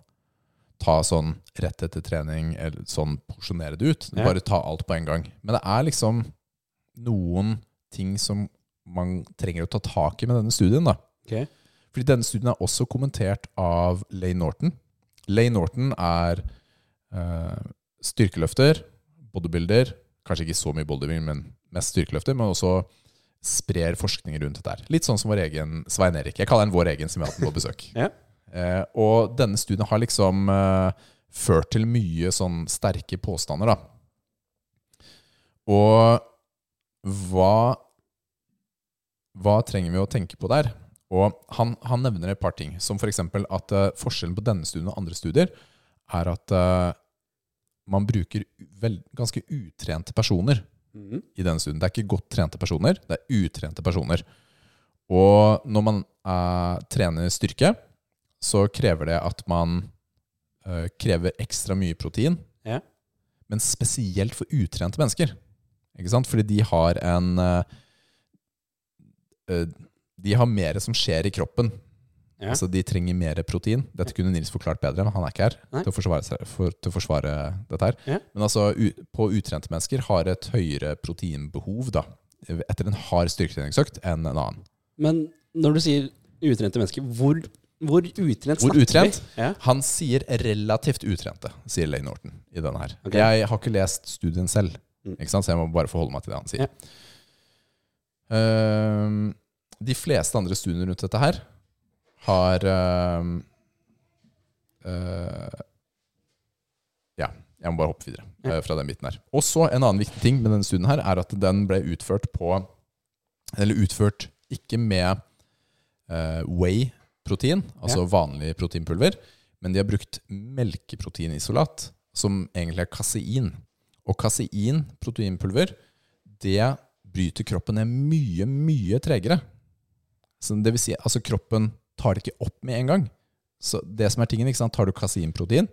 ta sånn rett etter trening, eller sånn porsjonere det ut.
Ja.
Bare ta alt på en gang. Men det er liksom noen ting som man trenger å ta tak i med denne studien, da.
Ok.
Fordi denne studien er også kommentert av Lay Norton. Lay Norton er eh, styrkeløfter, bodybuilder, kanskje ikke så mye bodybuilding, men mest styrkeløfter, men også sprer forskning rundt dette. her. Litt sånn som vår egen Svein Erik. Jeg kaller han vår egen, som vi har hatt på besøk.
Ja.
Eh, og denne studien har liksom eh, ført til mye sånn sterke påstander, da. Og hva hva trenger vi å tenke på der? Og han, han nevner et par ting, som f.eks. at eh, forskjellen på denne studien og andre studier er at eh, man bruker vel, ganske utrente personer
Mhm.
i denne studien. Det er ikke godt trente personer, det er utrente personer. Og når man eh, trener styrke, så krever det at man eh, krever ekstra mye protein.
Ja.
Men spesielt for utrente mennesker. Ikke sant? Fordi de har en eh, eh, De har mer som skjer i kroppen.
Ja.
Altså De trenger mer protein. Dette kunne Nils forklart bedre, men han er ikke her
Nei.
til å, forsvare, seg- for, til å forsvare dette her.
Ja.
Men altså, u, på utrente mennesker har et høyere proteinbehov da, etter en hard styrketreningsøkt enn en annen.
Men når du sier utrente mennesker, hvor, hvor utrent
Hvor
snakker
utrent?
vi? Ja.
Han sier relativt utrente, sier Lane Norton i denne her.
Ok.
Jeg har ikke lest studien selv,
Mm.
ikke sant? så jeg må bare forholde meg til det han sier.
Ja.
Ehm, de fleste andre studiene rundt dette her har ehm, eh, Ja, jeg må bare hoppe videre eh, fra den biten her. Også en annen viktig ting med denne studien her, er at den ble utført på Eller utført ikke med eh, whey-protein, altså vanlig proteinpulver, men de har brukt melkeproteinisolat, som egentlig er kasein. Og kasein, proteinpulver, det bryter kroppen ned mye, mye tregere. Så det vil si, altså kroppen tar det ikke opp med en gang. Så det som er tingen, ikke sant, tar du kaseinprotein,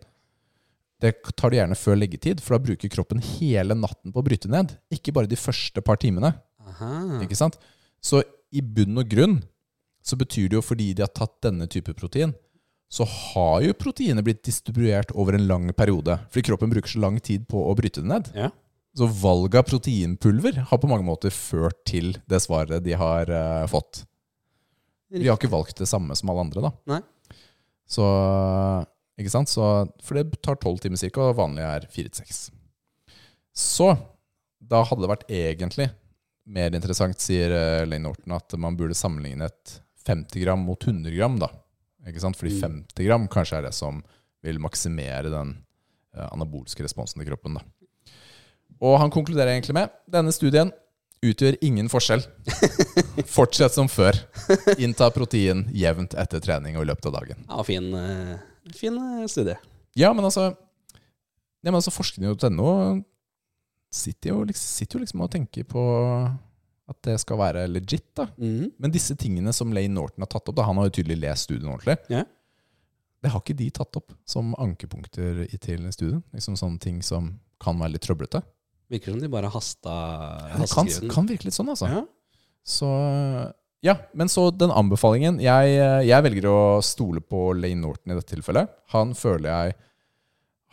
det tar du gjerne før leggetid, for da bruker kroppen hele natten på å bryte ned. Ikke bare de første par timene.
Aha.
Ikke sant? Så i bunn og grunn så betyr det jo fordi de har tatt denne type protein, så har jo proteinet blitt distribuert over en lang periode. Fordi kroppen bruker så lang tid på å bryte det ned.
Ja.
Så valget av proteinpulver har på mange måter ført til det svaret de har eh, fått. De har ikke valgt det samme som alle andre, da.
Nei.
Så, ikke sant? Så, for det tar tolv timer cirka, og vanlig er fire til seks. Så da hadde det vært egentlig mer interessant, sier eh, Lane Norton, at man burde sammenligne et 50 gram mot 100 gram, da. Ikke sant? Fordi
Mm.
50 gram kanskje er det som vil maksimere den eh, anabolske responsen i kroppen, da. Og han konkluderer egentlig med denne studien utgjør ingen forskjell. Fortsett som før. Innta protein jevnt etter trening og i løpet av dagen.
Ja, fin, eh, fin eh, studie.
Ja, men altså, ja, men altså forskning.no sitter jo, liksom, sitter jo liksom og tenker på at det skal være legit, da.
Mhm.
Men disse tingene som Lane Norton har tatt opp, da, han har jo tydelig lest studien ordentlig,
Ja.
det har ikke de tatt opp som ankepunkter i til studien. Liksom sånne ting som kan være litt trøblete.
Virker som de bare hasta
Det kan, kan virke litt sånn, altså.
Ja.
Så Ja, men så den anbefalingen. Jeg, eh, jeg velger å stole på Lane Norton i dette tilfellet. Han føler jeg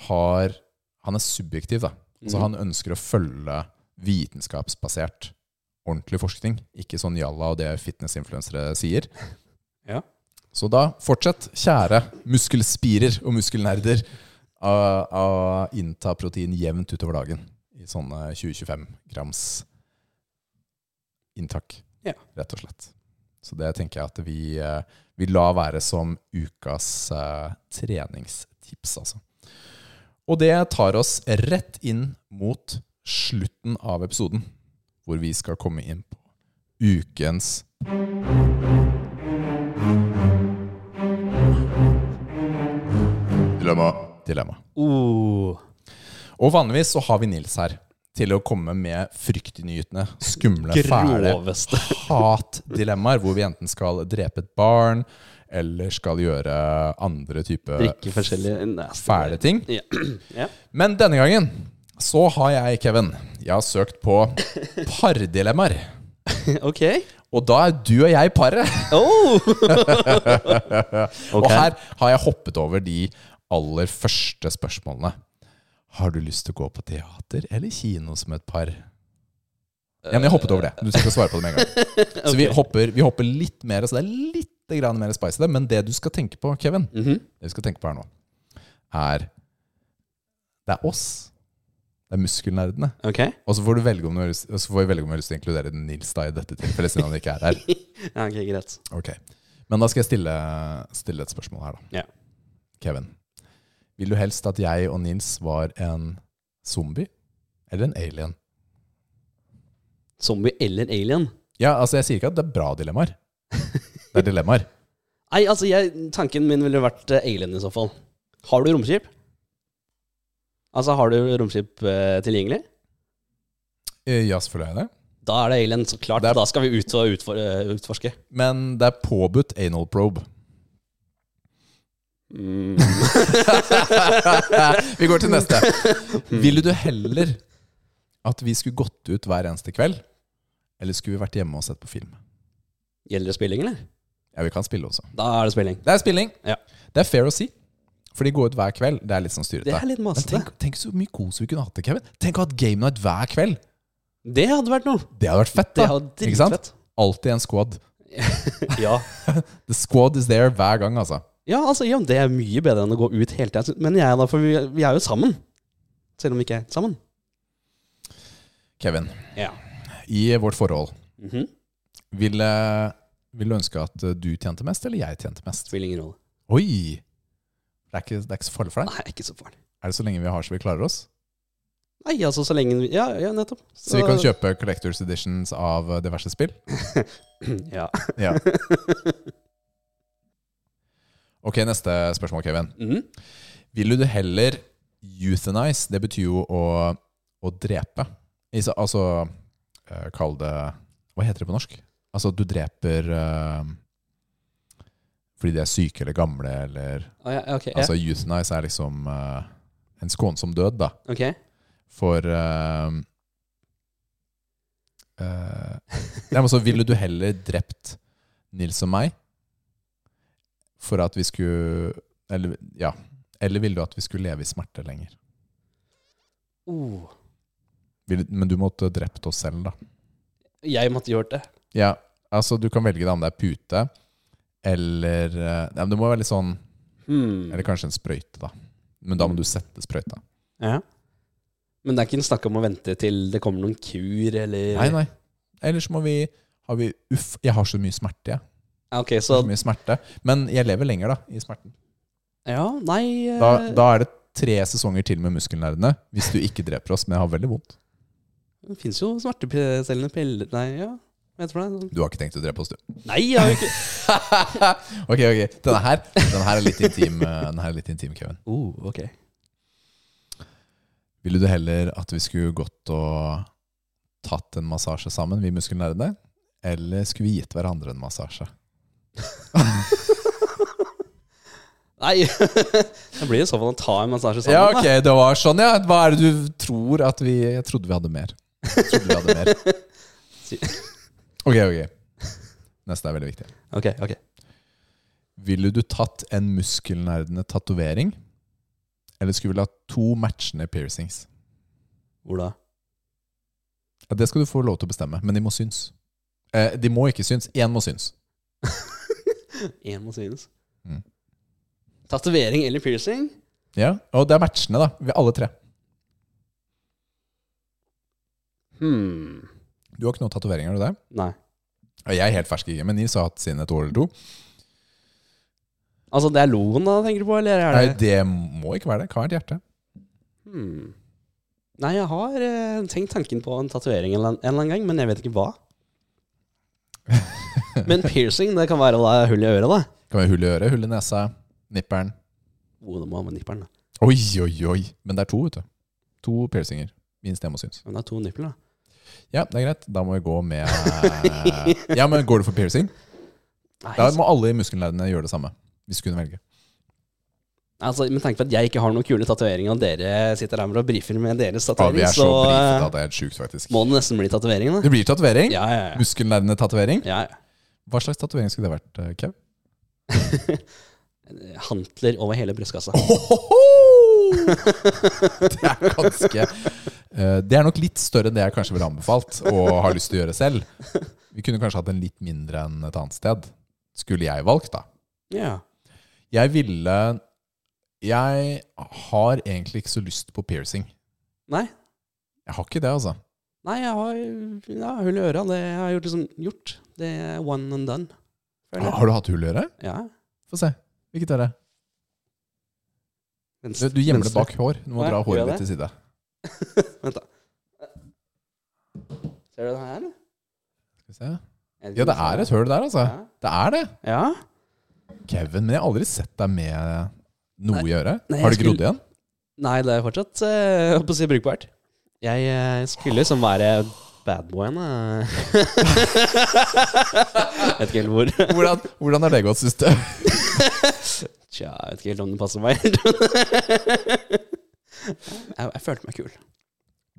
har Han er subjektiv, da. Altså,
Mhm.
Han ønsker å følge vitenskapsbasert, ordentlig forskning. Ikke sånn jalla og det fitnessinfluensere sier.
[laughs] Ja.
Så da fortsett, kjære muskelspirer og muskelnerder, å å innta protein jevnt utover dagen i sånne 20-25 grams inntak,
Ja.
rett og slett. Så det tenker jeg at vi, eh, vi la være som ukas eh, treningstips, altså. Og det tar oss rett inn mot slutten av episoden, hvor vi skal komme inn på ukens Dilemma. Dilemma.
Uh,
Og vanligvis så har vi Nils her til å komme med fryktinngytende, skumle, fæle [laughs]
groveste.
hatdilemmaer, hvor vi enten skal drepe et barn, eller skal gjøre andre typer
Drikke forskjellige nasty-
fæle ting.
Ja. [clears throat] ja.
Men denne gangen så har jeg, Kevin, jeg har søkt på pardilemmaer.
Ok.
Og da er du og jeg paret.
Oh!
Og her har jeg hoppet over de aller første spørsmålene. Har du lyst til å gå på teater eller kino som et par? Ja, men jeg hoppet over det. Du skal ikke svare på det med en gang. Så vi hopper, vi hopper litt mer, så det er litt grann mer spice i det. Men det du skal tenke på, Kevin, det du skal tenke på her nå, er Det er oss. Det er muskelnerdene.
Ok.
Og så får du velge om du har lyst, og så får vi velge om du har lyst til å inkludere Nils da i dette tilfellet, siden han ikke er her.
Ja, ok, greit.
Ok. Men da skal jeg stille, stille et spørsmål her, da.
Ja.
Kevin. Vil du helst at jeg og Nils var en zombie eller en alien?
Zombie eller alien?
Ja, altså Jeg sier ikke at det er bra dilemmaer. Det er dilemmaer.
Nei, altså, jeg, tanken min ville vært eh, alien i så fall. Har du romskip? Altså, har du romskip eh, tilgjengelig?
Eh, Ja, selvfølgelig er jeg det.
Da er det alien, så klart.
Det er-
Da skal vi ut og utfor, eh, utforske.
Men det er påbudt anal probe. [laughs] Mm. vi går til neste. Ville du heller at vi skulle gått ut hver eneste kveld, eller skulle vi vært hjemme og sett på film?
[laughs] Gjelder det spilling, eller?
Ja, vi kan spille også.
Da er det spilling.
Det er spilling.
Ja.
Det er fair å si. For de går ut hver kveld. Det er litt sånn styrete.
Det er litt
Men
masete.
tenk, tenk så mye kos vi kunne hatt det, Kevin. Tenk å ha et game night hver kveld.
Det hadde vært noe.
Det hadde vært fett,
Det
da.
hadde
Ikke sant?
dritfett.
Alltid en squad.
[laughs] Ja.
The squad is there hver gang, altså.
ja, altså, ja, det er mye bedre enn å gå ut hele tida. Men jeg, da, for vi, vi er jo sammen. Selv om vi ikke er sammen.
Kevin,
Ja.
i vårt forhold,
Mhm.
ville vil du ønske at eh, du tjente mest, eller jeg tjente mest?
Spiller ingen rolle.
Oi! Det er, ikke, det er ikke så farlig for deg.
Nei, ikke så farlig.
Er det så lenge vi har så vi klarer oss?
Nei, altså, så lenge vi Ja, ja nettopp. [clears throat]
Så vi kan kjøpe collectors editions av eh, diverse spill?
Ja.
Ja. Ok, neste spørsmål, Kevin.
Mhm.
Ville du heller euthanize? Det betyr jo å, å drepe. I så- Altså eh, Kall det Hva heter det på norsk? Altså at du dreper eh, fordi de er syke eller gamle, eller
Ah, ja, ok. Ja.
Altså euthanize er liksom eh, en skånsom død, da.
ok.
For eh, eh, Nei, men så ville du heller drept Nils og meg for at vi skulle Eller ja Eller ville du at vi skulle leve i smerte lenger?
Oh.
Vil- Men du måtte drept oss selv, da.
Jeg måtte gjort det.
Ja, altså Du kan velge da om det er pute eller eh, Nei, men Det må være litt sånn
Hmm.
Eller kanskje en sprøyte, da. Men da må du sette sprøyta.
Ja. Men det er ikke en snakk om å vente til det kommer noen kur, eller
Nei, nei. Ellers må vi har vi, Uff, jeg har så mye smerte, jeg.
Ja, Ok,
Det
så
er så mye smerte. Men jeg lever lenger da, i smerten.
Ja, nei eh,
Da, da er det tre sesonger til med muskelnerdene hvis du ikke dreper oss, men jeg har veldig vondt.
Det fins jo smertestillende piller Nei, ja. Vet du hva det er?
Du har ikke tenkt å drepe oss, du.
Nei, jeg har jo ikke
[laughs] ok, ok. Denne her, denne her er litt intim, eh, denne her er litt intim Kevin.
oh, ok.
Ville du heller at vi skulle gått og tatt en massasje sammen, vi muskelnerdene? Eller skulle vi gitt hverandre en massasje?
Nei. [laughs] det blir i så fall å ta en massasje sammen.
Ja,
da.
ok, det var sånn, ja. Hva er det du tror at vi Jeg trodde vi hadde mer. Jeg trodde vi hadde mer. [laughs]
Si-
Ok, ok. Neste er veldig viktig.
Ok, ok.
Ville du tatt en muskelnerdende tatovering? Eller skulle du villet ha to matchende piercings?
Hvor da?
Ja, det skal du få lov til å bestemme, men de må syns. Eh, de må ikke syns. Én må syns.
Én må synes.
Mm.
Tatovering eller piercing?
Ja, Og det er matchende, da. Vi alle tre.
Hmm.
Du har ikke noen tatoveringer, har du det?
Nei.
Og jeg er helt fersk i gamet. Nils har hatt sine et år eller to.
Altså, det er logoen da, tenker du på, eller er
Nei,
det
det må ikke være det. Hva er et hjerte?
Hmm. Nei, jeg har eh, tenkt tanken på en tatovering en, eller annen- en eller annen gang, men jeg vet ikke
[laughs]
hva. men piercing, det kan være da, hull i øret, da.
Kan være hull i øret, hull i nesa, nipperen.
Oh, det må ha med nipperen, da.
Oi, oi, oi. Men det er to, vet du. To piercinger. Minst jeg må synes.
Men det er to nipler, da.
Ja, det er greit. Da må vi gå
[laughs]
med Ja, men går du for piercing?
Nei,
Da må alle i muskelnerdene gjøre det samme. Hvis du kunne velge.
altså, med tanke på at jeg ikke har noen kule tatoveringer, og dere sitter her og brifer med deres
Ja, vi
tatovering,
er så
så,
brifet
eh,
at det er helt sjukt, faktisk.
må det nesten bli tatovering, da.
Det blir tatovering.
Ja, ja, ja.
Muskelnerdene-tatovering.
ja, [laughs] ja.
Hva slags tatovering skulle det vært, eh,
[laughs]
Kev?
Hantler over hele brystkassa.
Det er ganske eh, Det er nok litt større enn det jeg kanskje ville anbefalt og har lyst til å gjøre selv. Vi kunne kanskje hatt en litt mindre enn et annet sted. Skulle jeg valgt, da.
[laughs] Ja.
Jeg ville Jeg har egentlig ikke så lyst på piercing.
Nei.
Jeg har ikke det, altså.
Nei, jeg har ja, hull i øra. Det har jeg gjort, liksom, gjort. Det er one and done. føler jeg.
Har du hatt hull i øret?
Ja.
Få se. Hvilket er det? Du,
Venstre-
du gjemmer det
venstre.
bak hår. Du må
Nei,
dra
gjør jeg
håret
det?
litt til side.
[laughs] Vent, da. Ser du det her?
Skal vi se. Ja, det er et hull der, altså.
sånn? Ja.
Det er det.
Ja.
Kevin, men jeg har aldri sett deg med noe i øret.
nei,
Har det
jeg skulle-
grodd igjen?
Nei, det er fortsatt eh, holdt på å si brukbart. Jeg eh, skulle liksom være badboyen. eh. [laughs] vet ikke helt hvor. [laughs]
Hvordan, hvordan har det gått, syns du?
Tja, jeg vet ikke helt om det passer meg. [laughs] jeg, jeg følte meg kul.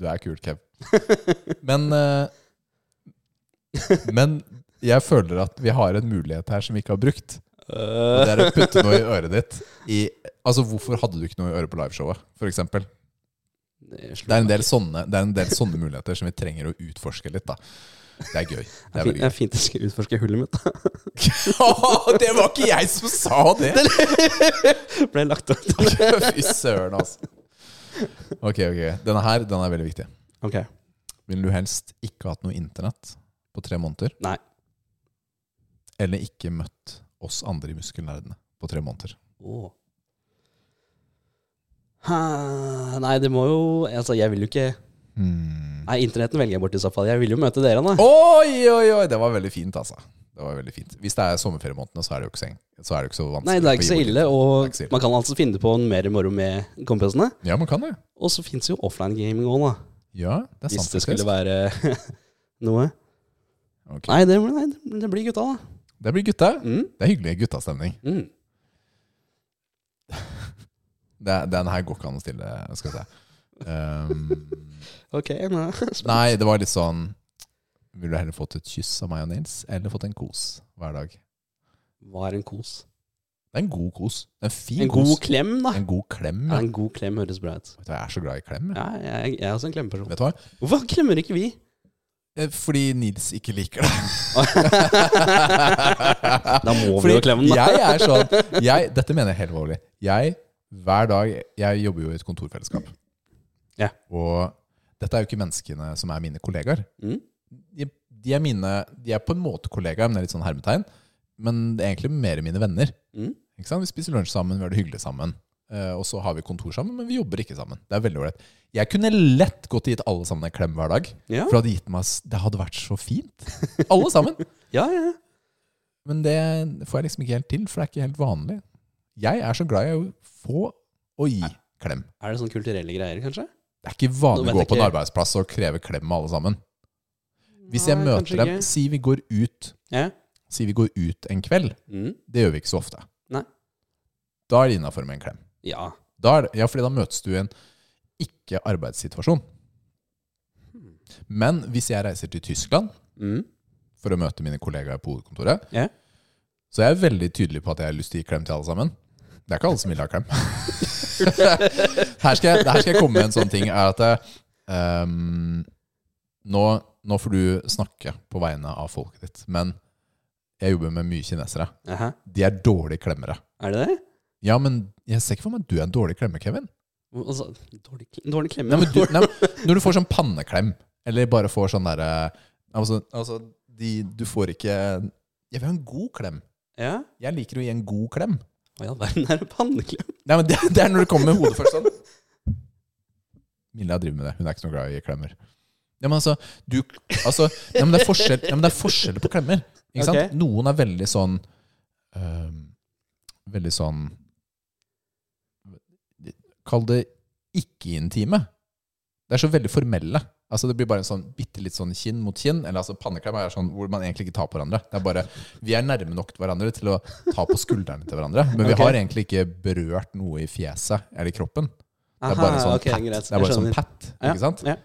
Du er kul, Kev.
[laughs]
Men eh, Men jeg føler at vi har en mulighet her som vi ikke har brukt. Og det er å putte noe i
[laughs]
øret ditt. I, altså, hvorfor hadde du ikke noe i øret på liveshowet, f.eks.? Det
Det
er en del sånne Det er en del sånne muligheter som vi trenger å utforske litt, da. Det er gøy. Det
Det
er
er
veldig gøy.
fint jeg skal utforske hullet mitt.
[laughs] det var ikke jeg som sa det!
Ble lagt ut.
[laughs] Fy søren, altså. Ok, ok. Denne her den er veldig viktig.
Ok.
Ville du helst ikke hatt noe internett på tre måneder?
Nei.
Eller ikke møtt oss andre i muskelnerdene på tre måneder?
Åh. Ha, Nei, det må jo Altså, jeg vil jo ikke
Hmm.
Nei, internetten velger jeg bort i så fall. Jeg vil jo møte dere, da.
Oi, oi, oi! Det var veldig fint, altså. Det var veldig fint. Hvis det er sommerferiemånedene, så er det jo ikke seng. Så er det jo ikke så vanskelig.
Nei, det er
å
ikke
gi
så
bort
ille,
litt. Det er
og
ikke så ille.
man kan altså finne på mer moro med kompisene.
Ja, man kan det.
Og så fins jo offline gaming òg, da.
Ja, det er
Hvis
sant.
det skulle
faktisk.
være [laughs] noe.
Ok.
Nei, det, nei, det blir gutta, da.
Det blir gutta.
Mm.
Det er hyggelig guttastemning.
Mm.
Det, den her går ikke an å stille, skal vi se.
[laughs]
Um,
Ok, nå. [laughs]
Nei, det var litt sånn Ville du heller fått et kyss av meg og Nils, eller fått en kos hver dag? Det
Hva er en kos?
er en god kos. Det er En fin
En god
kos.
klem, da.
en god klem.
Ja,
Ja.
en god klem høres bra ut.
Vet du hva, Jeg er så glad i klem. jeg.
Ja, jeg, jeg er også en klemmeperson.
Vet du hva?
Hvorfor klemmer ikke vi?
Eh, Fordi Nils ikke liker det.
[laughs] Da må vi jo klemme, da.
jeg er sånn jeg, Dette mener jeg helt alvorlig. Jeg, hver dag Jeg jobber jo i et kontorfellesskap.
Ja.
Og dette er jo ikke menneskene som er mine kollegaer.
Mm.
De, de er mine De er på en måte kollegaer, men det er litt sånn hermetegn. Men det er egentlig mer mine venner.
Mm.
Ikke sant? Vi spiser lunsj sammen, vi har det hyggelig sammen. Eh, og så har vi kontor sammen, men vi jobber ikke sammen. Det er veldig ålreit. Jeg kunne lett gått og gitt alle sammen en klem hver dag.
Ja.
For det hadde gitt meg s- Det hadde vært så fint. Alle sammen.
Ja, ja. ja.
Men det får jeg liksom ikke helt til, for det er ikke helt vanlig. Jeg er så glad i å få og gi klem.
Er det sånn kulturelle greier, kanskje?
Det er ikke
Nå
vanlig å
vet
gå
jeg
på en
ikke.
arbeidsplass og kreve klem med alle sammen. Hvis jeg
Nei,
møter
kanskje
dem
ikke.
Si vi går ut
Ja.
Si vi går ut en kveld.
Mm.
Det gjør vi ikke så ofte.
Nei.
Da er det innafor med en klem.
ja.
Da er det, ja, fordi da møtes du i en ikke-arbeidssituasjon.
Hmm.
Men hvis jeg reiser til Tyskland
Mm.
for å møte mine kollegaer på hovedkontoret,
Ja.
så er jeg veldig tydelig på at jeg har lyst til å gi klem til alle sammen. Det er ikke alle som vil ha klem. her, skal jeg, her skal jeg komme med en sånn ting. Er at ehm, nå, nå får du snakke på vegne av folket ditt. Men jeg jobber med mye kinesere.
Aha.
De er dårlige klemmere.
Er det det?
Ja, men jeg ser ikke for meg at du er en dårlig klemmer, Kevin.
Altså, dårlig, kle- dårlig klemme.
Nei, men du, nei, men når du får sånn panneklem, eller bare får sånn derre Altså, altså de, du får ikke Jeg vil ha en god klem.
Ja.
Jeg liker å gi en god klem.
Hva i all verden er en panneklem?
[laughs] Nei, men det, det er når du kommer med hodet først sånn. Milla driver med det. Hun er ikke så glad i klemmer. Ja, men altså, du, altså ja, men det, er forskjell, ja, men det er forskjell på klemmer. Ikke sant?
Ok.
Noen er veldig sånn øhm, Veldig sånn Kall det ikke-intime. Det er så veldig formelle. Altså Det blir bare en sånn bitte litt sånn kinn mot kinn. Eller altså panneklem er sånn hvor man egentlig ikke tar på hverandre. Det er bare, Vi er nærme nok til hverandre til å ta på skuldrene til hverandre. Men vi
Ok.
har egentlig ikke berørt noe i fjeset eller i kroppen. Det er bare en sånn
ok,
pat.
greit,
det er bare
jeg
en sånn
skjønner.
pat
Ja,
ikke sant?
ja.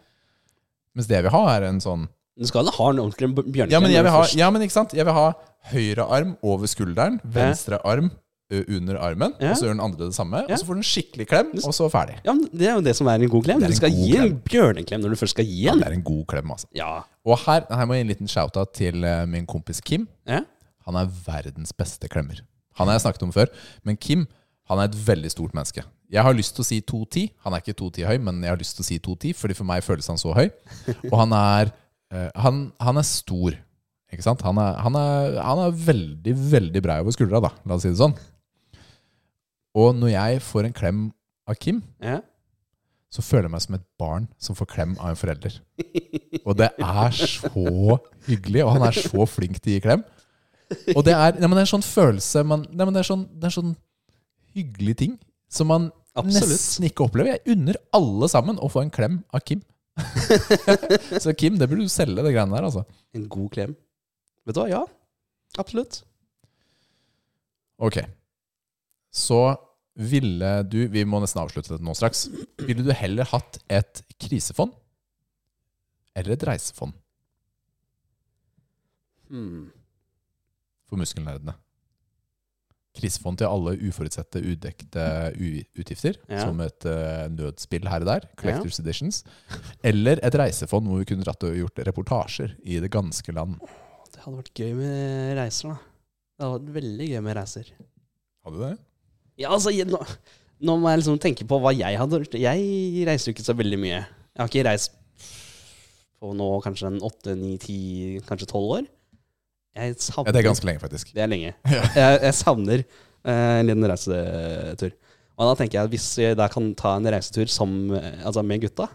Mens det jeg vil ha, er en sånn
Du skal ha en ordentlig bjørneklem
Ja, men, jeg vil ha,
først.
ja, men ikke sant? Jeg vil ha høyre arm over skulderen, venstre arm ø, under armen,
Ja.
og så gjør den andre det samme.
Ja.
Og så får du en skikkelig klem, og så ferdig.
Ja, men Det er jo det som er en god klem.
Det er
Du
en
skal
god
gi en
klem.
bjørneklem når du først skal gi
Ja,
en.
det er en god klem, altså.
Ja.
Og her, her må jeg gi en liten shout-out til eh, min kompis Kim.
ja.
Han er verdens beste klemmer. Han har jeg snakket om før, men Kim han er et veldig stort menneske. Jeg har lyst til å si 2,10. Han er ikke 2,10 høy, men jeg har lyst til å si 2,10, fordi for meg føles han så høy. Og han er, eh, han, han er stor. Ikke sant? Han er, han, er, han er veldig, veldig brei over skuldra, da. La oss si det sånn. Og når jeg får en klem av Kim,
ja.
så føler jeg meg som et barn som får klem av en forelder. Og det er så hyggelig, og han er så flink til å gi klem. Og det er, nei, men det er en sånn følelse man, nei, men det, er sånn, det er sånn hyggelig ting som man
Absolutt.
nesten ikke opplever. Jeg unner alle sammen å få en klem av Kim. [laughs] så Kim, det burde du selge, det greiene der. altså.
En god klem. Vet du hva, ja. Absolutt.
Ok. Så ville du Vi må nesten avslutte dette nå straks. Ville du heller hatt et krisefond eller et reisefond
Hmm.
for muskelnerdene? Krisefond til alle uforutsette, udekte u- utgifter,
Ja.
som et eh, nødspill her og der. Collectors Editions. Eller et reisefond hvor vi kunne dratt og gjort reportasjer i det ganske land.
Det hadde vært gøy med reiser, da. Det hadde vært veldig gøy med reiser.
Har du det?
Ja, altså, jeg- nå, nå må jeg liksom tenke på hva jeg hadde gjort. Jeg reiser jo ikke så veldig mye. Jeg har ikke reist på nå kanskje en åtte, ni, ti, kanskje tolv år. Jeg savner
Ja, det er ganske lenge, faktisk.
Det er lenge.
Ja.
[laughs] Jeg, jeg savner eh, en liten reisetur. Og da tenker jeg at hvis jeg da kan ta en reisetur som, eh, altså med gutta,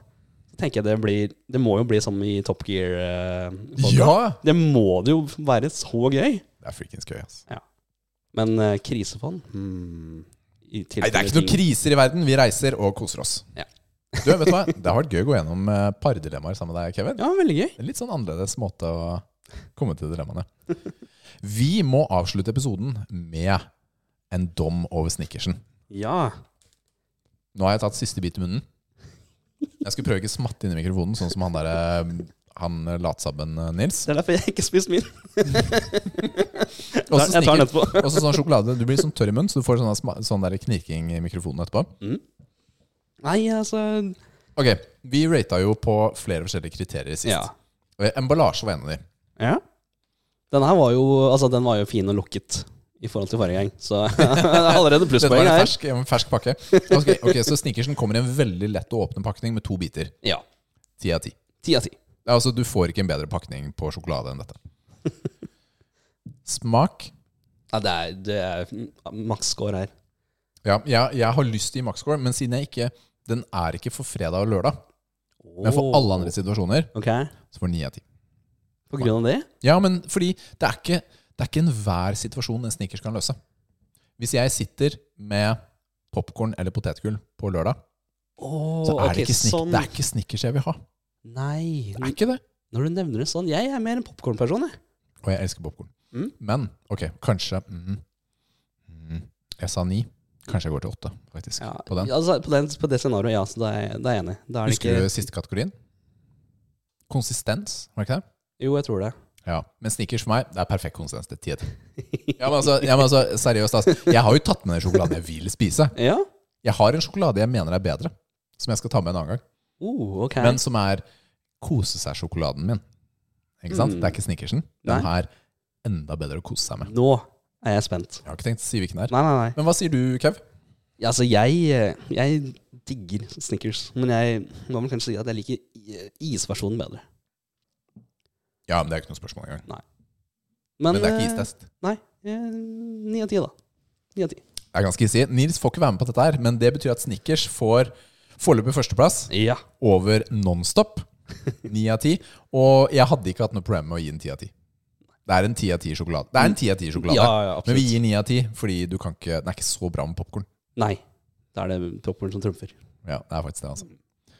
så tenker jeg det blir Det må jo bli som i Top Gear. eh, podcast.
Ja!
Det må det jo være så gøy.
Det er freakings gøy. ass.
Men eh, krisefond hmm, i
Nei, det er ikke
tilfelle
noen
ting-
kriser i verden. Vi reiser og koser oss.
Ja.
Du, vet du hva? Det har vært gøy å gå gjennom eh, pardilemmaer sammen med deg, Kevin.
Ja, veldig gøy.
Det er en litt sånn annerledes måte å komme til dilemmaene. Vi må avslutte episoden med en dom over snickersen.
Ja.
Nå har jeg tatt siste bit i munnen. Jeg skulle prøve å ikke smatte inn i mikrofonen, sånn som han der, eh, han eh, latsabben eh, Nils.
Det er derfor jeg ikke spiste min.
Også
Jeg tar den
snikker-
etterpå.
også sånn sjokolade. Du blir sånn tørr i munnen, så du får sånn, der sma- sånn der knirking i mikrofonen etterpå.
Nei, altså
Ok, Vi rata jo på flere forskjellige kriterier sist.
Ja.
Og Emballasje var en av de.
Ja. Den her var jo Altså, den var jo fin og lukket i forhold til forrige gang, så [laughs] det er allerede
Dette
plusspoeng
var en
her.
fersk, en fersk pakke. Ok, ok, Så snickersen kommer i en veldig lett å åpne pakning med to biter.
Ja.
Ti av ti.
Ti av ti.
Det er Altså, du får ikke en bedre pakning på sjokolade enn dette. Smak.
Ja, det er, det er maksscore her.
Ja, jeg, jeg har lyst til maksscore, men siden jeg ikke den er ikke for fredag og lørdag, men for alle andre situasjoner,
Ok,
så får den ni av ti.
På grunn av det?
Ja, men fordi det er ikke, det er ikke enhver situasjon en snickers kan løse. Hvis jeg sitter med popkorn eller potetgull på lørdag,
Oh,
så er det, ikke snick, det er ikke snickers jeg vil ha.
Nei,
Det er ikke det.
når du nevner det sånn Jeg er mer en popkornperson, jeg.
Og jeg elsker popkorn.
Mm.
Men ok, kanskje mm, mm, Jeg sa ni. Kanskje jeg går til åtte, faktisk.
Ja,
på den.
Altså, på, den, på det scenarioet, ja. Så da er jeg, da er jeg enig. Da er det
Husker
ikke
du siste kategorien? Konsistens, var det ikke det?
Jo, jeg tror det.
Ja, Men snickers for meg, det er perfekt konsistens. Det er
[laughs]
ti av ti. Ja, men altså, ja, men altså, seriøst, altså. Jeg har jo tatt med den sjokoladen jeg vil spise.
Ja?
Jeg har en sjokolade jeg mener er bedre, som jeg skal ta med en annen gang.
Oh, ok.
Men som er kose seg-sjokoladen min. Ikke sant?
Mm.
Det er ikke snickersen. Den
Nei.
her enda bedre å kose seg med.
Nå er jeg spent.
Jeg har ikke tenkt å si hvilken det er.
Nei, nei, nei.
Men hva sier du, Kev?
Ja, Altså, jeg, jeg digger Snickers, men jeg må vel kanskje si at jeg liker i- isversjonen bedre.
Ja, men det er ikke noe spørsmål engang.
Men,
Men det er ikke
eh,
istest.
Nei. eh, Ni av ti, da. Ni av ti.
Det er ganske easy. Nils får ikke være med på dette her, men det betyr at Snickers får Foreløpig førsteplass
Ja.
over Nonstop.
[laughs]
Ni av ti. Og jeg hadde ikke hatt noe problem med å gi en ti av ti. Det er en ti av ti sjokolade. Det er en 10 av 10 sjokolade.
Ja, ja, absolutt.
Men vi gir ni av ti, fordi du kan ikke, den er ikke så bra med popkorn.
Nei. Da er det topperen som trumfer.
Ja, det er faktisk det, altså.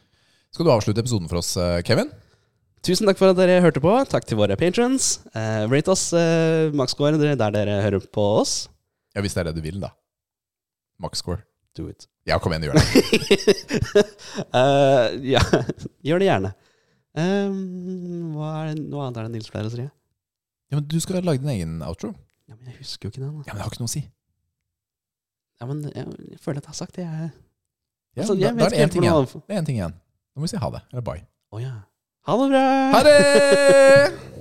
Skal du avslutte episoden for oss, eh, Kevin?
Tusen takk for at dere hørte på. Takk til våre patrons. Eh, rate oss eh, maksscore der dere hører på oss.
Ja, Hvis det er det du vil, da. Max score.
Do it.
Ja, kom igjen, gjør det.
[laughs] Eh, ja, gjør det gjerne. Eh, hva er det, noe annet er det Nils pleier å si? Ja,
Ja, men Du skal lage din egen outro.
men jeg husker jo ikke det. Da.
Ja, men Det har ikke noe å si.
Ja, men jeg, jeg føler at jeg har sagt det. Jeg,
Ja,
altså,
da-
jeg
da,
vet
er det
ikke
én
helt
ting
hvordan
igjen. Det er én ting igjen. Nå må vi si ha det. Eller bye.
Å ja. Ha det bra!
Ha det!